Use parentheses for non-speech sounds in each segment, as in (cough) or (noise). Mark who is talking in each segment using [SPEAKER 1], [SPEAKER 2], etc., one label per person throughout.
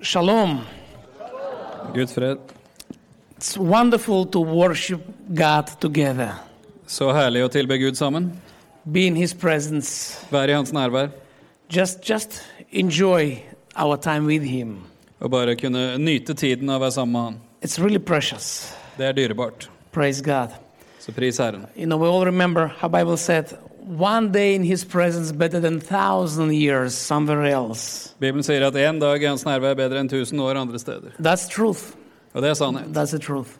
[SPEAKER 1] Shalom.
[SPEAKER 2] Guds fred.
[SPEAKER 1] It's wonderful to worship God together,
[SPEAKER 2] Så herlig å tilbe Gud sammen.
[SPEAKER 1] be in His presence,
[SPEAKER 2] Være i hans nærvær.
[SPEAKER 1] just just enjoy our time with Him.
[SPEAKER 2] Og bare kunne nyte tiden av å være sammen med han.
[SPEAKER 1] It's really precious.
[SPEAKER 2] Det er dyrebart.
[SPEAKER 1] Praise God.
[SPEAKER 2] Så pris Herren.
[SPEAKER 1] You know, we all remember how Bible said, "One day in His presence better than thousand years somewhere else."
[SPEAKER 2] Bibelen sier at én dag i hans nærvær er bedre enn tusen år andre steder.
[SPEAKER 1] That's truth.
[SPEAKER 2] Og det er sannhet.
[SPEAKER 1] That's the truth.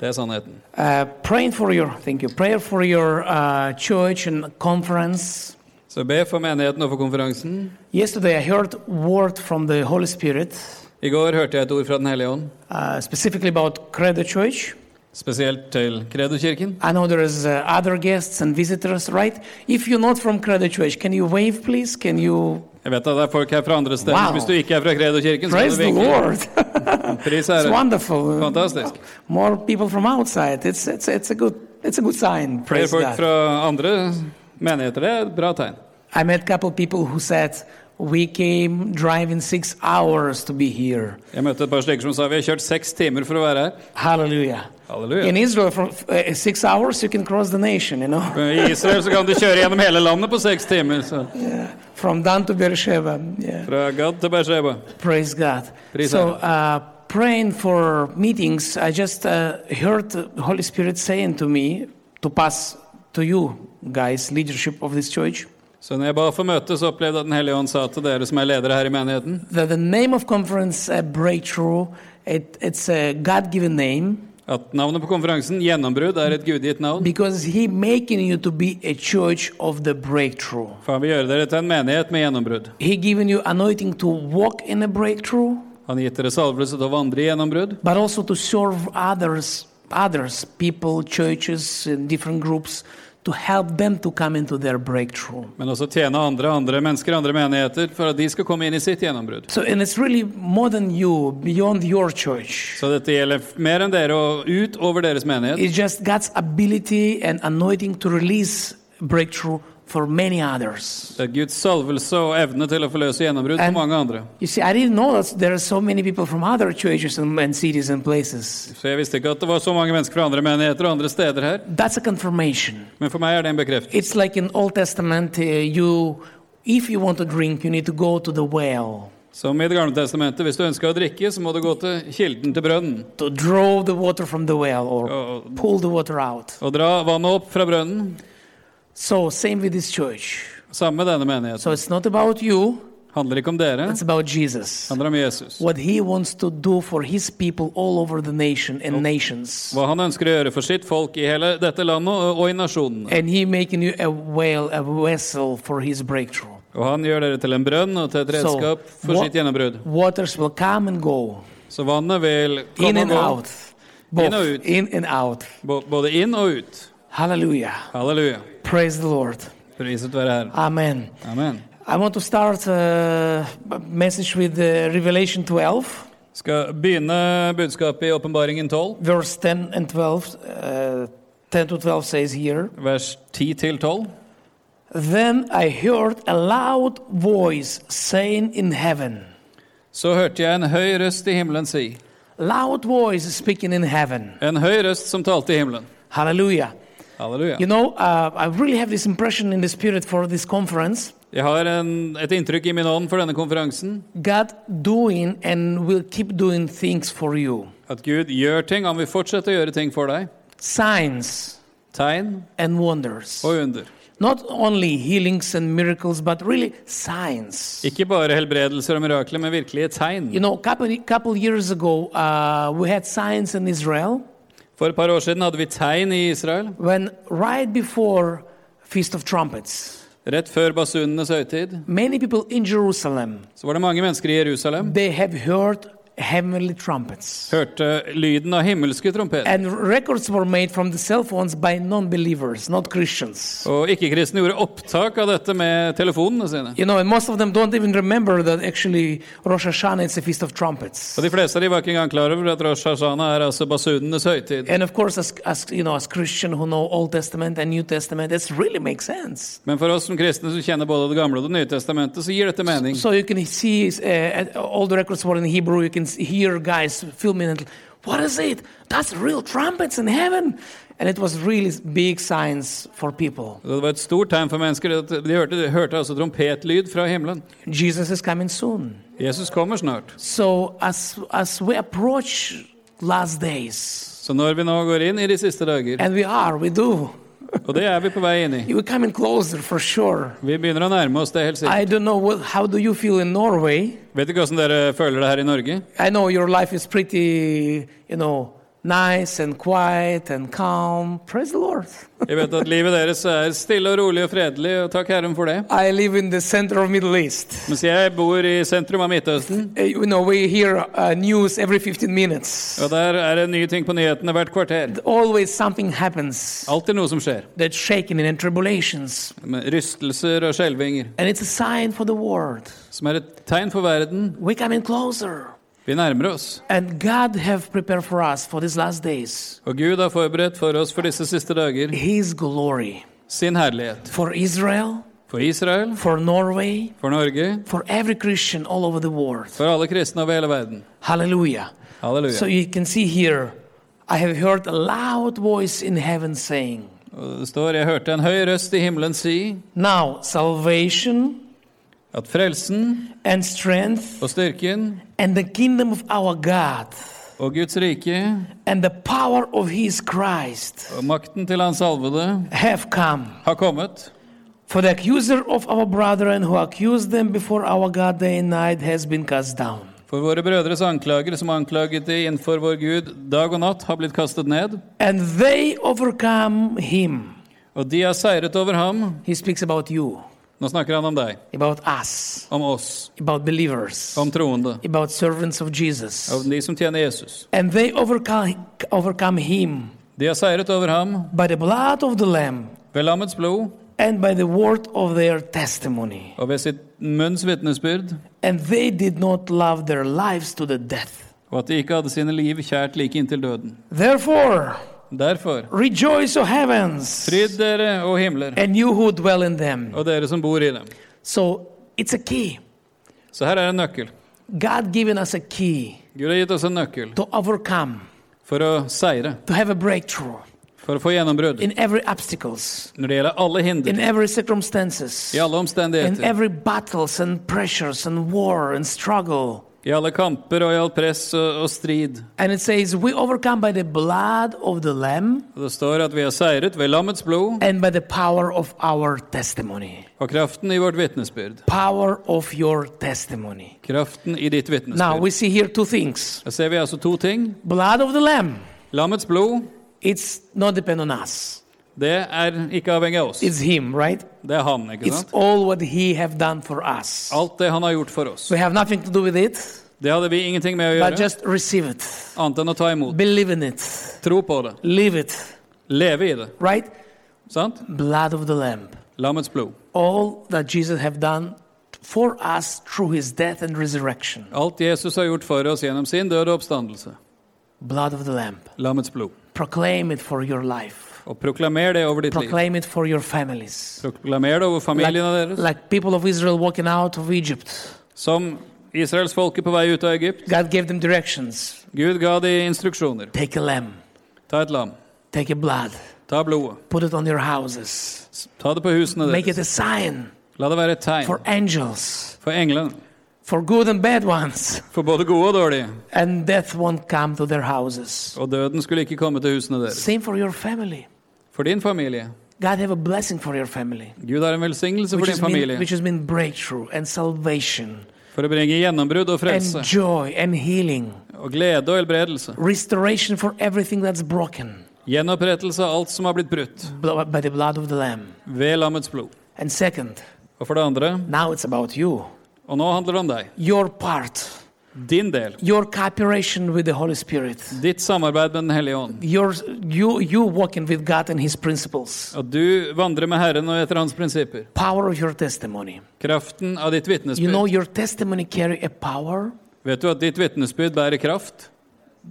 [SPEAKER 2] Det er sannheten.
[SPEAKER 1] Uh, praying for your thank you. Prayer for your uh, church and conference.
[SPEAKER 2] Så be for menigheten og for konferansen.
[SPEAKER 1] Yesterday, I heard word from the Holy Spirit.
[SPEAKER 2] I går hørte jeg et ord fra Den hellige ånd,
[SPEAKER 1] uh, specifically about Credo Church.
[SPEAKER 2] spesielt til Kredokirken.
[SPEAKER 1] I know there is uh, other guests and visitors, right? If you're not from Credo Church, can you wave, please? Can you
[SPEAKER 2] Jeg vet at det er folk her fra andre steder.
[SPEAKER 1] Wow.
[SPEAKER 2] Hvis du ikke er fra Kredokirken, så
[SPEAKER 1] praise
[SPEAKER 2] kan du
[SPEAKER 1] the
[SPEAKER 2] vinke.
[SPEAKER 1] Lord? (laughs)
[SPEAKER 2] Pris
[SPEAKER 1] it's
[SPEAKER 2] Herren.
[SPEAKER 1] wonderful.
[SPEAKER 2] Fantastisk.
[SPEAKER 1] More people from outside. It's it's it's a good it's a good sign.
[SPEAKER 2] Flere
[SPEAKER 1] Praise
[SPEAKER 2] folk
[SPEAKER 1] God.
[SPEAKER 2] fra andre menigheter, det er et bra tegn.
[SPEAKER 1] I met a couple people who said we came driving six hours to be here.
[SPEAKER 2] Jeg møtte et par stykker som sa vi har kjørt seks timer for å være her.
[SPEAKER 1] Hallelujah.
[SPEAKER 2] Halleluja.
[SPEAKER 1] In Israel, for uh, six hours, you can cross the nation, you know,
[SPEAKER 2] I Israel
[SPEAKER 1] (laughs)
[SPEAKER 2] så kan du kjøre gjennom hele landet på seks timer. Så.
[SPEAKER 1] from Dan to Beersheba. Yeah.
[SPEAKER 2] Fra Gad til Beersheba.
[SPEAKER 1] Praise God.
[SPEAKER 2] Praise
[SPEAKER 1] so, uh, praying for meetings, I just uh, heard the Holy Spirit saying to me to pass to you guys leadership of this church
[SPEAKER 2] Så når jeg ba for møte, så opplevde jeg at Den hellige ånd sa til dere som er ledere her i menigheten,
[SPEAKER 1] that the name of conference uh, breakthrough it, it's a god-given name
[SPEAKER 2] at navnet på konferansen, Gjennombrudd, er et gudgitt navn.
[SPEAKER 1] because he making you to be a church of the breakthrough
[SPEAKER 2] For han vil gjøre dere til en menighet med gjennombrudd.
[SPEAKER 1] he giving you anointing to walk in a breakthrough
[SPEAKER 2] Han har gitt dere salvelse til å vandre i gjennombrudd,
[SPEAKER 1] but also to serve others, others, people, churches, and different groups, to help them to come into their breakthrough.
[SPEAKER 2] men også tjene andre, andre mennesker, andre menigheter, for at de skal komme inn i sitt gjennombrudd.
[SPEAKER 1] So, and it's really more than you, beyond your church.
[SPEAKER 2] Så dette gjelder mer enn dere og utover deres menighet.
[SPEAKER 1] It's just God's ability and anointing to release breakthrough for many others.
[SPEAKER 2] Det er Guds salvelse og evne til å forløse gjennombrudd for mange andre.
[SPEAKER 1] You see, I didn't know that there are so many people from other churches and, and cities and places.
[SPEAKER 2] Så jeg visste ikke at det var så mange mennesker fra andre menigheter og andre steder her,
[SPEAKER 1] That's a confirmation.
[SPEAKER 2] men for meg er det en bekreftelse.
[SPEAKER 1] It's like in Old Testament, uh, you, if you want to drink, you need to go to the well.
[SPEAKER 2] Som i Det gamle testamentet, hvis du ønsker å drikke, så må du gå til kilden til brønnen
[SPEAKER 1] to draw the water from the well or
[SPEAKER 2] og,
[SPEAKER 1] pull the water out.
[SPEAKER 2] og dra vannet opp fra brønnen.
[SPEAKER 1] So same with this church.
[SPEAKER 2] Samme med denne menigheten.
[SPEAKER 1] So it's not about you,
[SPEAKER 2] Handler ikke om dere,
[SPEAKER 1] it's about Jesus.
[SPEAKER 2] handler om Jesus.
[SPEAKER 1] What he wants to do for his people all over the nation and nations.
[SPEAKER 2] Hva han ønsker å gjøre for sitt folk i hele dette landet og, og i nasjonene.
[SPEAKER 1] And he making you a whale, a vessel for his breakthrough.
[SPEAKER 2] Og han gjør dere til en brønn og til et
[SPEAKER 1] So,
[SPEAKER 2] redskap for
[SPEAKER 1] what-
[SPEAKER 2] sitt gjennombrudd.
[SPEAKER 1] Waters will come and go,
[SPEAKER 2] Så vannet vil
[SPEAKER 1] in
[SPEAKER 2] komme
[SPEAKER 1] and
[SPEAKER 2] og gå,
[SPEAKER 1] out. Both
[SPEAKER 2] out.
[SPEAKER 1] in and out.
[SPEAKER 2] bo- både inn og ut.
[SPEAKER 1] Hallelujah.
[SPEAKER 2] Halleluja.
[SPEAKER 1] Praise the Lord.
[SPEAKER 2] Priset være Herren.
[SPEAKER 1] Amen.
[SPEAKER 2] Amen.
[SPEAKER 1] I want to start uh, a message with uh, Revelation 12.
[SPEAKER 2] Skal begynne budskapet i Åpenbaringen 12,
[SPEAKER 1] verse 10 and 12 uh, 10 to 12 says here
[SPEAKER 2] vers 10 til 12.
[SPEAKER 1] then i heard a loud voice saying in heaven
[SPEAKER 2] Så hørte jeg en høy røst i himmelen si
[SPEAKER 1] loud voice speaking in heaven
[SPEAKER 2] En høy røst som talte i himmelen.
[SPEAKER 1] hallelujah
[SPEAKER 2] Halleluja.
[SPEAKER 1] you know uh, i really have this impression in the spirit for this conference
[SPEAKER 2] Jeg har en, et inntrykk i min ånd for denne konferansen.
[SPEAKER 1] god doing and will keep doing things for you
[SPEAKER 2] At Gud gjør ting. Han vil fortsette å gjøre ting for deg.
[SPEAKER 1] signs
[SPEAKER 2] Tegn
[SPEAKER 1] and wonders
[SPEAKER 2] og under.
[SPEAKER 1] not only healings and miracles but really signs
[SPEAKER 2] Ikke bare helbredelser og mirakler, men virkelige tegn.
[SPEAKER 1] you know couple couple years ago uh, we had signs in israel
[SPEAKER 2] For et par år siden hadde vi tegn i Israel.
[SPEAKER 1] when right before feast of trumpets
[SPEAKER 2] Rett før basunenes høytid
[SPEAKER 1] many people in jerusalem
[SPEAKER 2] så var det mange mennesker i Jerusalem
[SPEAKER 1] they have heard heavenly trumpets.
[SPEAKER 2] hørte lyden av himmelske trompeter.
[SPEAKER 1] And records were made from the cell phones by non believers, not Christians.
[SPEAKER 2] Og ikke-kristne gjorde opptak av dette med telefonene sine.
[SPEAKER 1] You know, and most of them don't even remember that actually Rosh Hashanah is a feast of trumpets.
[SPEAKER 2] Og de fleste av de var ikke engang klar over at Rosh Hashanah er altså basunenes høytid.
[SPEAKER 1] And of course, as, as you know, as Christian who know Old Testament and New Testament, this really makes sense.
[SPEAKER 2] Men for oss som kristne som kjenner både Det gamle og Det nye testamentet, så gir dette mening.
[SPEAKER 1] So you can see uh, all the records were in Hebrew. You can s- hear guys filming it. What is it? That's real trumpets in heaven. And it was really big science for people.
[SPEAKER 2] Og Det var et stort tegn for mennesker. at De hørte, de hørte altså trompetlyd fra himmelen.
[SPEAKER 1] Jesus is coming soon.
[SPEAKER 2] Jesus kommer snart.
[SPEAKER 1] So as as we approach last days,
[SPEAKER 2] Så når vi nå går inn i de siste dager,
[SPEAKER 1] and we are, we do,
[SPEAKER 2] og det er vi på vei inn i
[SPEAKER 1] we're coming closer for sure.
[SPEAKER 2] Vi begynner å nærme oss det helt sikkert.
[SPEAKER 1] I don't know what, how do you feel in Norway.
[SPEAKER 2] Vet ikke åssen dere føler det her i Norge?
[SPEAKER 1] I know your life is pretty, you know, nice and quiet and calm. Praise the Lord.
[SPEAKER 2] Jeg vet at livet deres er stille og rolig og fredelig, og takk Herren for det.
[SPEAKER 1] I live in the center of Middle East.
[SPEAKER 2] Mens jeg bor i sentrum av Midtøsten,
[SPEAKER 1] Uh, You know, we hear uh, news every 15 minutes.
[SPEAKER 2] og der er det nye ting på nyhetene hvert kvarter.
[SPEAKER 1] Always something happens
[SPEAKER 2] Alltid noe som skjer.
[SPEAKER 1] that's shaking and tribulations.
[SPEAKER 2] Med rystelser og skjelvinger.
[SPEAKER 1] And it's a sign for the world.
[SPEAKER 2] Som er et tegn for verden.
[SPEAKER 1] We're coming closer.
[SPEAKER 2] Vi nærmer oss.
[SPEAKER 1] And God have prepared for us for these last days
[SPEAKER 2] Og Gud har forberedt for oss for disse siste dager
[SPEAKER 1] His glory
[SPEAKER 2] sin herlighet.
[SPEAKER 1] for Israel,
[SPEAKER 2] For Israel,
[SPEAKER 1] for Norway,
[SPEAKER 2] for Norge,
[SPEAKER 1] for every Christian all over the world.
[SPEAKER 2] for alle kristne over hele verden.
[SPEAKER 1] Hallelujah. So
[SPEAKER 2] Halleluja.
[SPEAKER 1] you can see here, I have heard a loud voice in heaven saying,
[SPEAKER 2] Og det står Jeg hørte en høy røst i himmelen si
[SPEAKER 1] Now salvation
[SPEAKER 2] at frelsen
[SPEAKER 1] and strength
[SPEAKER 2] og styrken
[SPEAKER 1] and the kingdom of our God
[SPEAKER 2] og Guds rike
[SPEAKER 1] and the power of his Christ
[SPEAKER 2] og makten til Hans salvede
[SPEAKER 1] have come.
[SPEAKER 2] har kommet.
[SPEAKER 1] For the accuser of our brethren who accused them before our God day and night has been cast down.
[SPEAKER 2] For våre brødres anklager som anklaget de innenfor vår Gud dag og natt, har blitt kastet ned.
[SPEAKER 1] And they overcome him.
[SPEAKER 2] Og de har seiret over ham.
[SPEAKER 1] He speaks about you,
[SPEAKER 2] Nå snakker han om deg,
[SPEAKER 1] about us,
[SPEAKER 2] om oss,
[SPEAKER 1] about believers,
[SPEAKER 2] om troende,
[SPEAKER 1] about servants of Jesus.
[SPEAKER 2] om de som tjener Jesus.
[SPEAKER 1] And they overcome, overcome him
[SPEAKER 2] De har seiret over ham
[SPEAKER 1] by the blood of the Lamb
[SPEAKER 2] ved lammets blod
[SPEAKER 1] and by the word of their testimony.
[SPEAKER 2] og ved sitt munns vitnesbyrd,
[SPEAKER 1] And they did not love their lives to the death.
[SPEAKER 2] og at de ikke hadde sine liv kjært like inntil døden.
[SPEAKER 1] Therefore,
[SPEAKER 2] Derfor,
[SPEAKER 1] rejoice, O heavens,
[SPEAKER 2] fryd dere, og himler,
[SPEAKER 1] and you who dwell in them.
[SPEAKER 2] og dere som bor i dem.
[SPEAKER 1] So it's a key.
[SPEAKER 2] Så her er en nøkkel.
[SPEAKER 1] God given us a key
[SPEAKER 2] Gud har gitt oss en nøkkel
[SPEAKER 1] to overcome,
[SPEAKER 2] for å seire,
[SPEAKER 1] to have a breakthrough
[SPEAKER 2] for å få gjennombrudd
[SPEAKER 1] in every obstacles,
[SPEAKER 2] når det gjelder alle hinder,
[SPEAKER 1] in every circumstances,
[SPEAKER 2] i alle
[SPEAKER 1] in
[SPEAKER 2] omstendigheter,
[SPEAKER 1] every battles and pressures and war and struggle.
[SPEAKER 2] i alle kamper og i all press og, og strid.
[SPEAKER 1] And it says, We overcome by the blood of the Lamb
[SPEAKER 2] Og det står at vi har seiret ved lammets blod
[SPEAKER 1] and by the power of our testimony.
[SPEAKER 2] og kraften i vårt vitnesbyrd.
[SPEAKER 1] Power of your testimony.
[SPEAKER 2] Kraften i ditt
[SPEAKER 1] Now
[SPEAKER 2] vitnesbyrd.
[SPEAKER 1] we see here two things.
[SPEAKER 2] Da ser vi altså to ting.
[SPEAKER 1] Blood of the Lamb,
[SPEAKER 2] Lammets blod,
[SPEAKER 1] it's not depend on us.
[SPEAKER 2] det er ikke avhengig av oss.
[SPEAKER 1] It's Him, right?
[SPEAKER 2] Det er han, ikke
[SPEAKER 1] It's
[SPEAKER 2] sant?
[SPEAKER 1] all what He have done for us.
[SPEAKER 2] Alt det han har gjort for oss.
[SPEAKER 1] We have nothing to do with it,
[SPEAKER 2] Det hadde vi ingenting med å
[SPEAKER 1] but
[SPEAKER 2] gjøre,
[SPEAKER 1] just receive it,
[SPEAKER 2] annet enn å ta imot.
[SPEAKER 1] believe in it,
[SPEAKER 2] Tro på det.
[SPEAKER 1] live it,
[SPEAKER 2] Leve i det.
[SPEAKER 1] right?
[SPEAKER 2] Sant?
[SPEAKER 1] Blood of the Lamb.
[SPEAKER 2] Lammets blod.
[SPEAKER 1] All that Jesus have done for us through His death and resurrection.
[SPEAKER 2] Alt Jesus har gjort for oss gjennom sin død og oppstandelse.
[SPEAKER 1] Blood of the Lamb.
[SPEAKER 2] Lammets blod.
[SPEAKER 1] Proclaim it for your life.
[SPEAKER 2] Og proklamer det over ditt liv.
[SPEAKER 1] Proclaim it for your families.
[SPEAKER 2] Proklamer det over familiene deres.
[SPEAKER 1] Like people of Israel walking out of Egypt,
[SPEAKER 2] Som israelsfolket på vei ut av Egypt.
[SPEAKER 1] God gave them directions.
[SPEAKER 2] Gud ga de instruksjoner.
[SPEAKER 1] Take a lamb,
[SPEAKER 2] Ta et lam.
[SPEAKER 1] take a blood,
[SPEAKER 2] Ta blodet.
[SPEAKER 1] put it on your houses.
[SPEAKER 2] S- Ta det på husene
[SPEAKER 1] Make it
[SPEAKER 2] deres.
[SPEAKER 1] a sign
[SPEAKER 2] La det være et tegn
[SPEAKER 1] for angels,
[SPEAKER 2] for englene.
[SPEAKER 1] for good and bad ones,
[SPEAKER 2] For både gode og dårlige.
[SPEAKER 1] and death won't come to their houses.
[SPEAKER 2] Og døden skulle ikke komme til husene deres.
[SPEAKER 1] Same for your family.
[SPEAKER 2] For din familie.
[SPEAKER 1] God have a blessing for your family,
[SPEAKER 2] Gud har en velsignelse for
[SPEAKER 1] which
[SPEAKER 2] din
[SPEAKER 1] has, been,
[SPEAKER 2] familie.
[SPEAKER 1] which has been breakthrough and salvation
[SPEAKER 2] For å bringe gjennombrudd og frelse.
[SPEAKER 1] and joy and healing,
[SPEAKER 2] Og glede og helbredelse.
[SPEAKER 1] restoration for everything that's broken.
[SPEAKER 2] Gjenopprettelse av alt som har blitt brutt.
[SPEAKER 1] blo- by the blood of the Lamb.
[SPEAKER 2] Ved lammets blod.
[SPEAKER 1] And second,
[SPEAKER 2] Og for det andre
[SPEAKER 1] now it's about you,
[SPEAKER 2] Og nå handler det om deg.
[SPEAKER 1] your part
[SPEAKER 2] Din del.
[SPEAKER 1] your cooperation with the Holy Spirit.
[SPEAKER 2] Ditt samarbeid med Den hellige ånd.
[SPEAKER 1] Your, you, you walking with God and His principles.
[SPEAKER 2] At du vandrer med Herren og etter hans prinsipper.
[SPEAKER 1] Power of your testimony.
[SPEAKER 2] Kraften av ditt
[SPEAKER 1] You know
[SPEAKER 2] vitnesbyrd.
[SPEAKER 1] your testimony carry a power.
[SPEAKER 2] Vet du at ditt vitnesbyrd bærer kraft?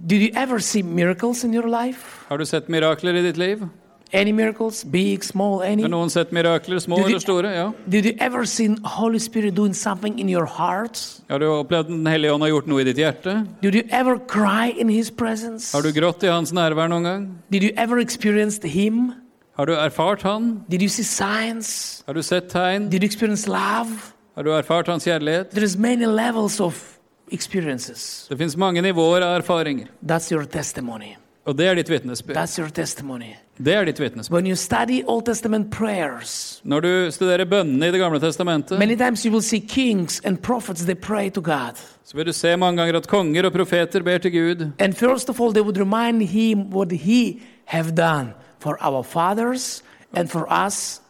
[SPEAKER 1] Did you ever see miracles in your life?
[SPEAKER 2] Har du sett mirakler i ditt liv?
[SPEAKER 1] Any miracles, big, small, any?
[SPEAKER 2] Har noen sett mirakler, små
[SPEAKER 1] Du-
[SPEAKER 2] eller store? Ja.
[SPEAKER 1] Did you ever see Holy Spirit doing something in your heart?
[SPEAKER 2] Har du opplevd at Den hellige ånd har gjort noe i ditt hjerte?
[SPEAKER 1] Did you ever cry in His presence?
[SPEAKER 2] Har du grått i hans nærvær noen gang?
[SPEAKER 1] Did you ever experience Him?
[SPEAKER 2] Har du erfart han?
[SPEAKER 1] Did you see signs?
[SPEAKER 2] Har du sett tegn?
[SPEAKER 1] Did you experience love?
[SPEAKER 2] Har du erfart hans kjærlighet?
[SPEAKER 1] There is many levels of experiences.
[SPEAKER 2] Det fins mange nivåer av erfaringer,
[SPEAKER 1] That's your testimony.
[SPEAKER 2] og det er ditt vitnesbyrd.
[SPEAKER 1] That's your testimony.
[SPEAKER 2] Det er ditt vitnesbyrd.
[SPEAKER 1] When you study Old Testament prayers,
[SPEAKER 2] Når du studerer bønnene i Det gamle testamentet,
[SPEAKER 1] many times you will see kings and prophets they pray to God.
[SPEAKER 2] så vil du se mange ganger at konger og profeter ber til Gud.
[SPEAKER 1] And first of all they would remind him what he have done for our fathers and for us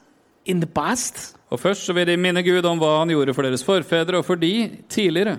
[SPEAKER 1] in the past.
[SPEAKER 2] Og først så vil de minne Gud om hva han gjorde for deres forfedre og for de tidligere.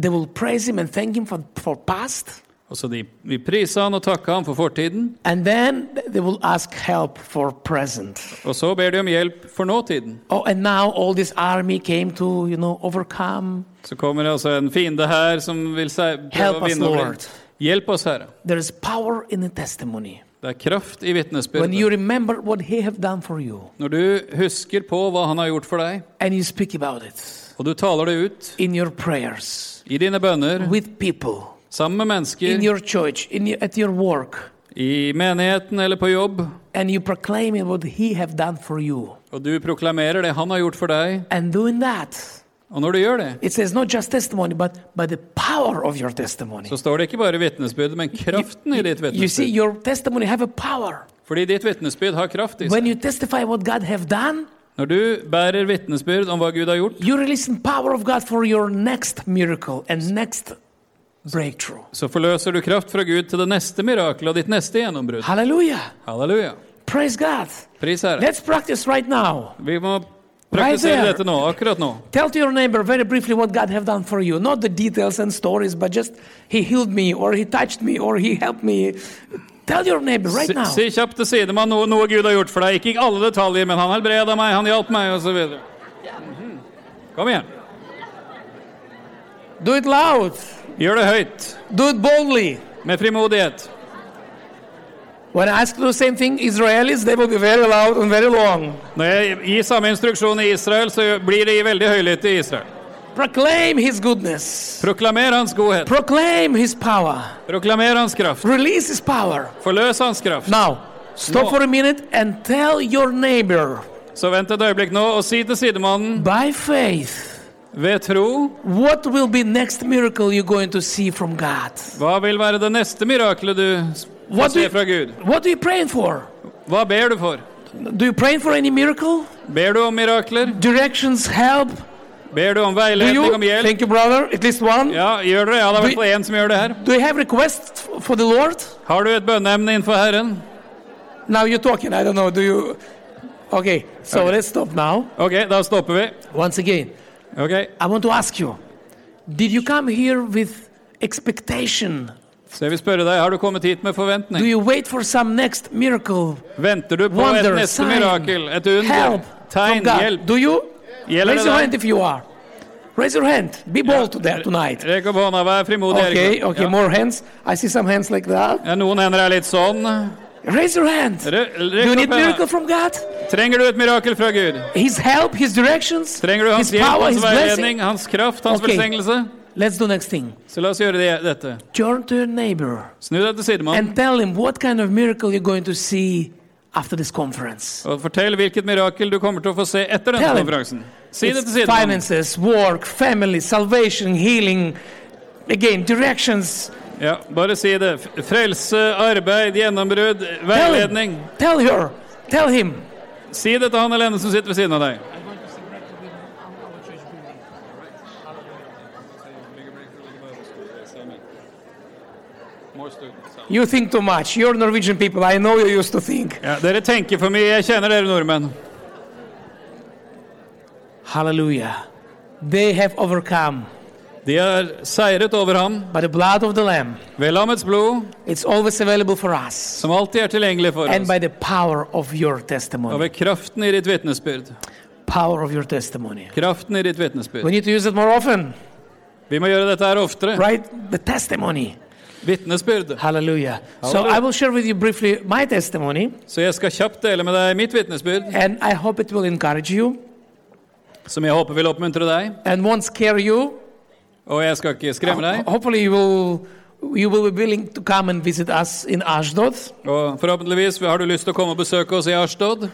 [SPEAKER 1] They will praise him and thank him for, for past.
[SPEAKER 2] Og så de vil prise han og takke han for fortiden,
[SPEAKER 1] And then they will ask help for present.
[SPEAKER 2] og så ber de om hjelp for nåtiden.
[SPEAKER 1] Oh, and now all this army came to, you know, overcome.
[SPEAKER 2] Så kommer det altså en fiende her som vil se- prøve
[SPEAKER 1] Help
[SPEAKER 2] å
[SPEAKER 1] us,
[SPEAKER 2] vinne over
[SPEAKER 1] Lord.
[SPEAKER 2] dem. Hjelp oss, Herre.
[SPEAKER 1] There is power in the testimony.
[SPEAKER 2] Det er kraft i
[SPEAKER 1] When you
[SPEAKER 2] vitnesbyrdet.
[SPEAKER 1] remember what he have done for you
[SPEAKER 2] Når du husker på hva han har gjort for deg,
[SPEAKER 1] and you speak about it
[SPEAKER 2] og du taler det ut
[SPEAKER 1] in your prayers
[SPEAKER 2] i dine bønner,
[SPEAKER 1] with people
[SPEAKER 2] sammen med
[SPEAKER 1] in
[SPEAKER 2] mennesker,
[SPEAKER 1] your church in your, at your work
[SPEAKER 2] i menigheten eller på jobb,
[SPEAKER 1] and you proclaiming what he have done for you
[SPEAKER 2] og du proklamerer det han har gjort for deg,
[SPEAKER 1] and doing that
[SPEAKER 2] og når du gjør det,
[SPEAKER 1] it says not just testimony but by the power of your testimony
[SPEAKER 2] så står det ikke bare vitnesbyrdet, men kraften i ditt
[SPEAKER 1] you see
[SPEAKER 2] vitnesbyrd.
[SPEAKER 1] your testimony have a power
[SPEAKER 2] Fordi ditt vitnesbyrd har kraft i
[SPEAKER 1] when
[SPEAKER 2] seg.
[SPEAKER 1] you testify what god have done
[SPEAKER 2] Når du bærer vitnesbyrd om hva Gud har gjort,
[SPEAKER 1] you release the power of god for your next miracle and next breakthrough
[SPEAKER 2] så forløser du kraft fra Gud til det neste mirakelet og ditt neste gjennombrudd.
[SPEAKER 1] hallelujah
[SPEAKER 2] Halleluja.
[SPEAKER 1] praise god
[SPEAKER 2] Pris Herre.
[SPEAKER 1] let's practice right now
[SPEAKER 2] Vi må
[SPEAKER 1] Right
[SPEAKER 2] praktisere
[SPEAKER 1] there.
[SPEAKER 2] dette nå, akkurat nå.
[SPEAKER 1] Tell to your neighbor very briefly what God have done for you. Not the details and stories, but just He healed me, or He touched me, or He helped me. Tell your neighbor right
[SPEAKER 2] Si,
[SPEAKER 1] now.
[SPEAKER 2] si kjapt til sidemann noe, noe Gud har gjort for deg. Ikke i alle detaljer, men han helbreda meg, han hjalp meg, osv. Mhm. Kom igjen.
[SPEAKER 1] Do it loud.
[SPEAKER 2] Gjør det høyt.
[SPEAKER 1] Do it boldly.
[SPEAKER 2] Med frimodighet.
[SPEAKER 1] When I ask to do the same thing, Israelis, they will be very loud and very long.
[SPEAKER 2] Når jeg gir samme instruksjon i Israel, så blir de veldig høylytte i Israel.
[SPEAKER 1] Proclaim His goodness.
[SPEAKER 2] Proklamer hans godhet.
[SPEAKER 1] Proclaim His power.
[SPEAKER 2] Proklamer hans kraft.
[SPEAKER 1] Release His power.
[SPEAKER 2] Forløs hans kraft.
[SPEAKER 1] Now, stop
[SPEAKER 2] No.
[SPEAKER 1] for a minute and tell your neighbor
[SPEAKER 2] Så vent et øyeblikk nå, og si til sidemannen
[SPEAKER 1] by faith
[SPEAKER 2] ved tro
[SPEAKER 1] what will be next miracle you're going to see from God.
[SPEAKER 2] Hva vil være det neste mirakelet du s-
[SPEAKER 1] Hva
[SPEAKER 2] får se
[SPEAKER 1] du-
[SPEAKER 2] fra Gud?
[SPEAKER 1] What are you praying for?
[SPEAKER 2] Hva ber du for?
[SPEAKER 1] Do you pray for any miracle?
[SPEAKER 2] Ber du om mirakler?
[SPEAKER 1] Directions, help?
[SPEAKER 2] Ber du om
[SPEAKER 1] Do
[SPEAKER 2] veiledning,
[SPEAKER 1] you?
[SPEAKER 2] om hjelp?
[SPEAKER 1] Thank you, brother. At least one.
[SPEAKER 2] Ja, gjør dere det? Ja, det er i hvert
[SPEAKER 1] Do-
[SPEAKER 2] fall én som gjør det her.
[SPEAKER 1] Do you have requests f- for the Lord?
[SPEAKER 2] Har du et bønneemne innenfor Herren?
[SPEAKER 1] Now you're talking. I don't know. Do you? Okay. So let's stop now.
[SPEAKER 2] Ok, da stopper vi.
[SPEAKER 1] Once again,
[SPEAKER 2] Ok,
[SPEAKER 1] I want to ask you: Did you come here with expectation?
[SPEAKER 2] så jeg vil spørre deg, har du kommet hit med
[SPEAKER 1] Do
[SPEAKER 2] forventning?
[SPEAKER 1] you wait for some next miracle,
[SPEAKER 2] Venter du på
[SPEAKER 1] wonder,
[SPEAKER 2] et neste
[SPEAKER 1] sign,
[SPEAKER 2] mirakel? Et under?
[SPEAKER 1] help from
[SPEAKER 2] Tegn?
[SPEAKER 1] God?
[SPEAKER 2] Hjelp?
[SPEAKER 1] Do you?
[SPEAKER 2] Gjelder
[SPEAKER 1] Raise
[SPEAKER 2] det
[SPEAKER 1] your hand
[SPEAKER 2] deg?
[SPEAKER 1] if you are. Raise your hand. Be bold today tonight.
[SPEAKER 2] Rekk opp hånda, vær frimodig.
[SPEAKER 1] Okay.
[SPEAKER 2] Erik.
[SPEAKER 1] Okay.
[SPEAKER 2] Ja.
[SPEAKER 1] More hands. I see some hands like that.
[SPEAKER 2] Ja, noen hender er litt sånn.
[SPEAKER 1] Raise your hand.
[SPEAKER 2] Re
[SPEAKER 1] Do you
[SPEAKER 2] rekk
[SPEAKER 1] need
[SPEAKER 2] opp hendene.
[SPEAKER 1] miracle from God?
[SPEAKER 2] Trenger du et mirakel fra Gud?
[SPEAKER 1] His help, His directions,
[SPEAKER 2] Trenger du hans
[SPEAKER 1] His
[SPEAKER 2] hjelp,
[SPEAKER 1] power,
[SPEAKER 2] hans
[SPEAKER 1] His blessing.
[SPEAKER 2] veiledning, hans kraft, hans
[SPEAKER 1] Ok.
[SPEAKER 2] velsignelse?
[SPEAKER 1] Let's do next thing.
[SPEAKER 2] Så la oss gjøre det, dette.
[SPEAKER 1] Turn to your neighbor
[SPEAKER 2] Snu deg til sidemannen
[SPEAKER 1] and tell him what kind of miracle you're going to see after this conference.
[SPEAKER 2] og fortell hvilket mirakel du kommer til å få se etter denne
[SPEAKER 1] Tell him.
[SPEAKER 2] konferansen. Si det
[SPEAKER 1] It's
[SPEAKER 2] til sidemannen.
[SPEAKER 1] finances, work, family, salvation, healing. Again, directions.
[SPEAKER 2] Ja, bare si det. F- Frelse, arbeid, gjennombrudd,
[SPEAKER 1] Tell
[SPEAKER 2] veiledning.
[SPEAKER 1] him. Tell her. Tell him.
[SPEAKER 2] Si det til han alene som sitter ved siden av deg.
[SPEAKER 1] You think too much. You're Norwegian people. I know you used to think.
[SPEAKER 2] Ja, dere tenker for mye. Jeg kjenner dere nordmenn.
[SPEAKER 1] Hallelujah. They have overcome.
[SPEAKER 2] De har seiret over ham
[SPEAKER 1] By the blood of the Lamb,
[SPEAKER 2] ved lammets blod,
[SPEAKER 1] it's always available for us.
[SPEAKER 2] som alltid er tilgjengelig for
[SPEAKER 1] And
[SPEAKER 2] oss,
[SPEAKER 1] by the power of your
[SPEAKER 2] og
[SPEAKER 1] testimony.
[SPEAKER 2] ved kraften i ditt vitnesbyrd.
[SPEAKER 1] Power of your testimony.
[SPEAKER 2] Kraften i ditt
[SPEAKER 1] We
[SPEAKER 2] vitnesbyrd.
[SPEAKER 1] need to use it more often, (laughs)
[SPEAKER 2] Vi må gjøre dette her oftere.
[SPEAKER 1] right? The testimony.
[SPEAKER 2] Vitnesbyrd.
[SPEAKER 1] Hallelujah. So
[SPEAKER 2] Hallelujah.
[SPEAKER 1] I will share with you briefly my testimony,
[SPEAKER 2] Så jeg skal kjapt dele med deg mitt vitnesbyrd,
[SPEAKER 1] and I hope it will encourage you
[SPEAKER 2] som jeg håper vil oppmuntre deg.
[SPEAKER 1] and won't scare you.
[SPEAKER 2] Og jeg skal ikke skremme
[SPEAKER 1] Ho-
[SPEAKER 2] deg.
[SPEAKER 1] Hopefully, you will you will be willing to come and visit us in Ashdod.
[SPEAKER 2] Og forhåpentligvis har du lyst til å komme og besøke oss i Ashtod.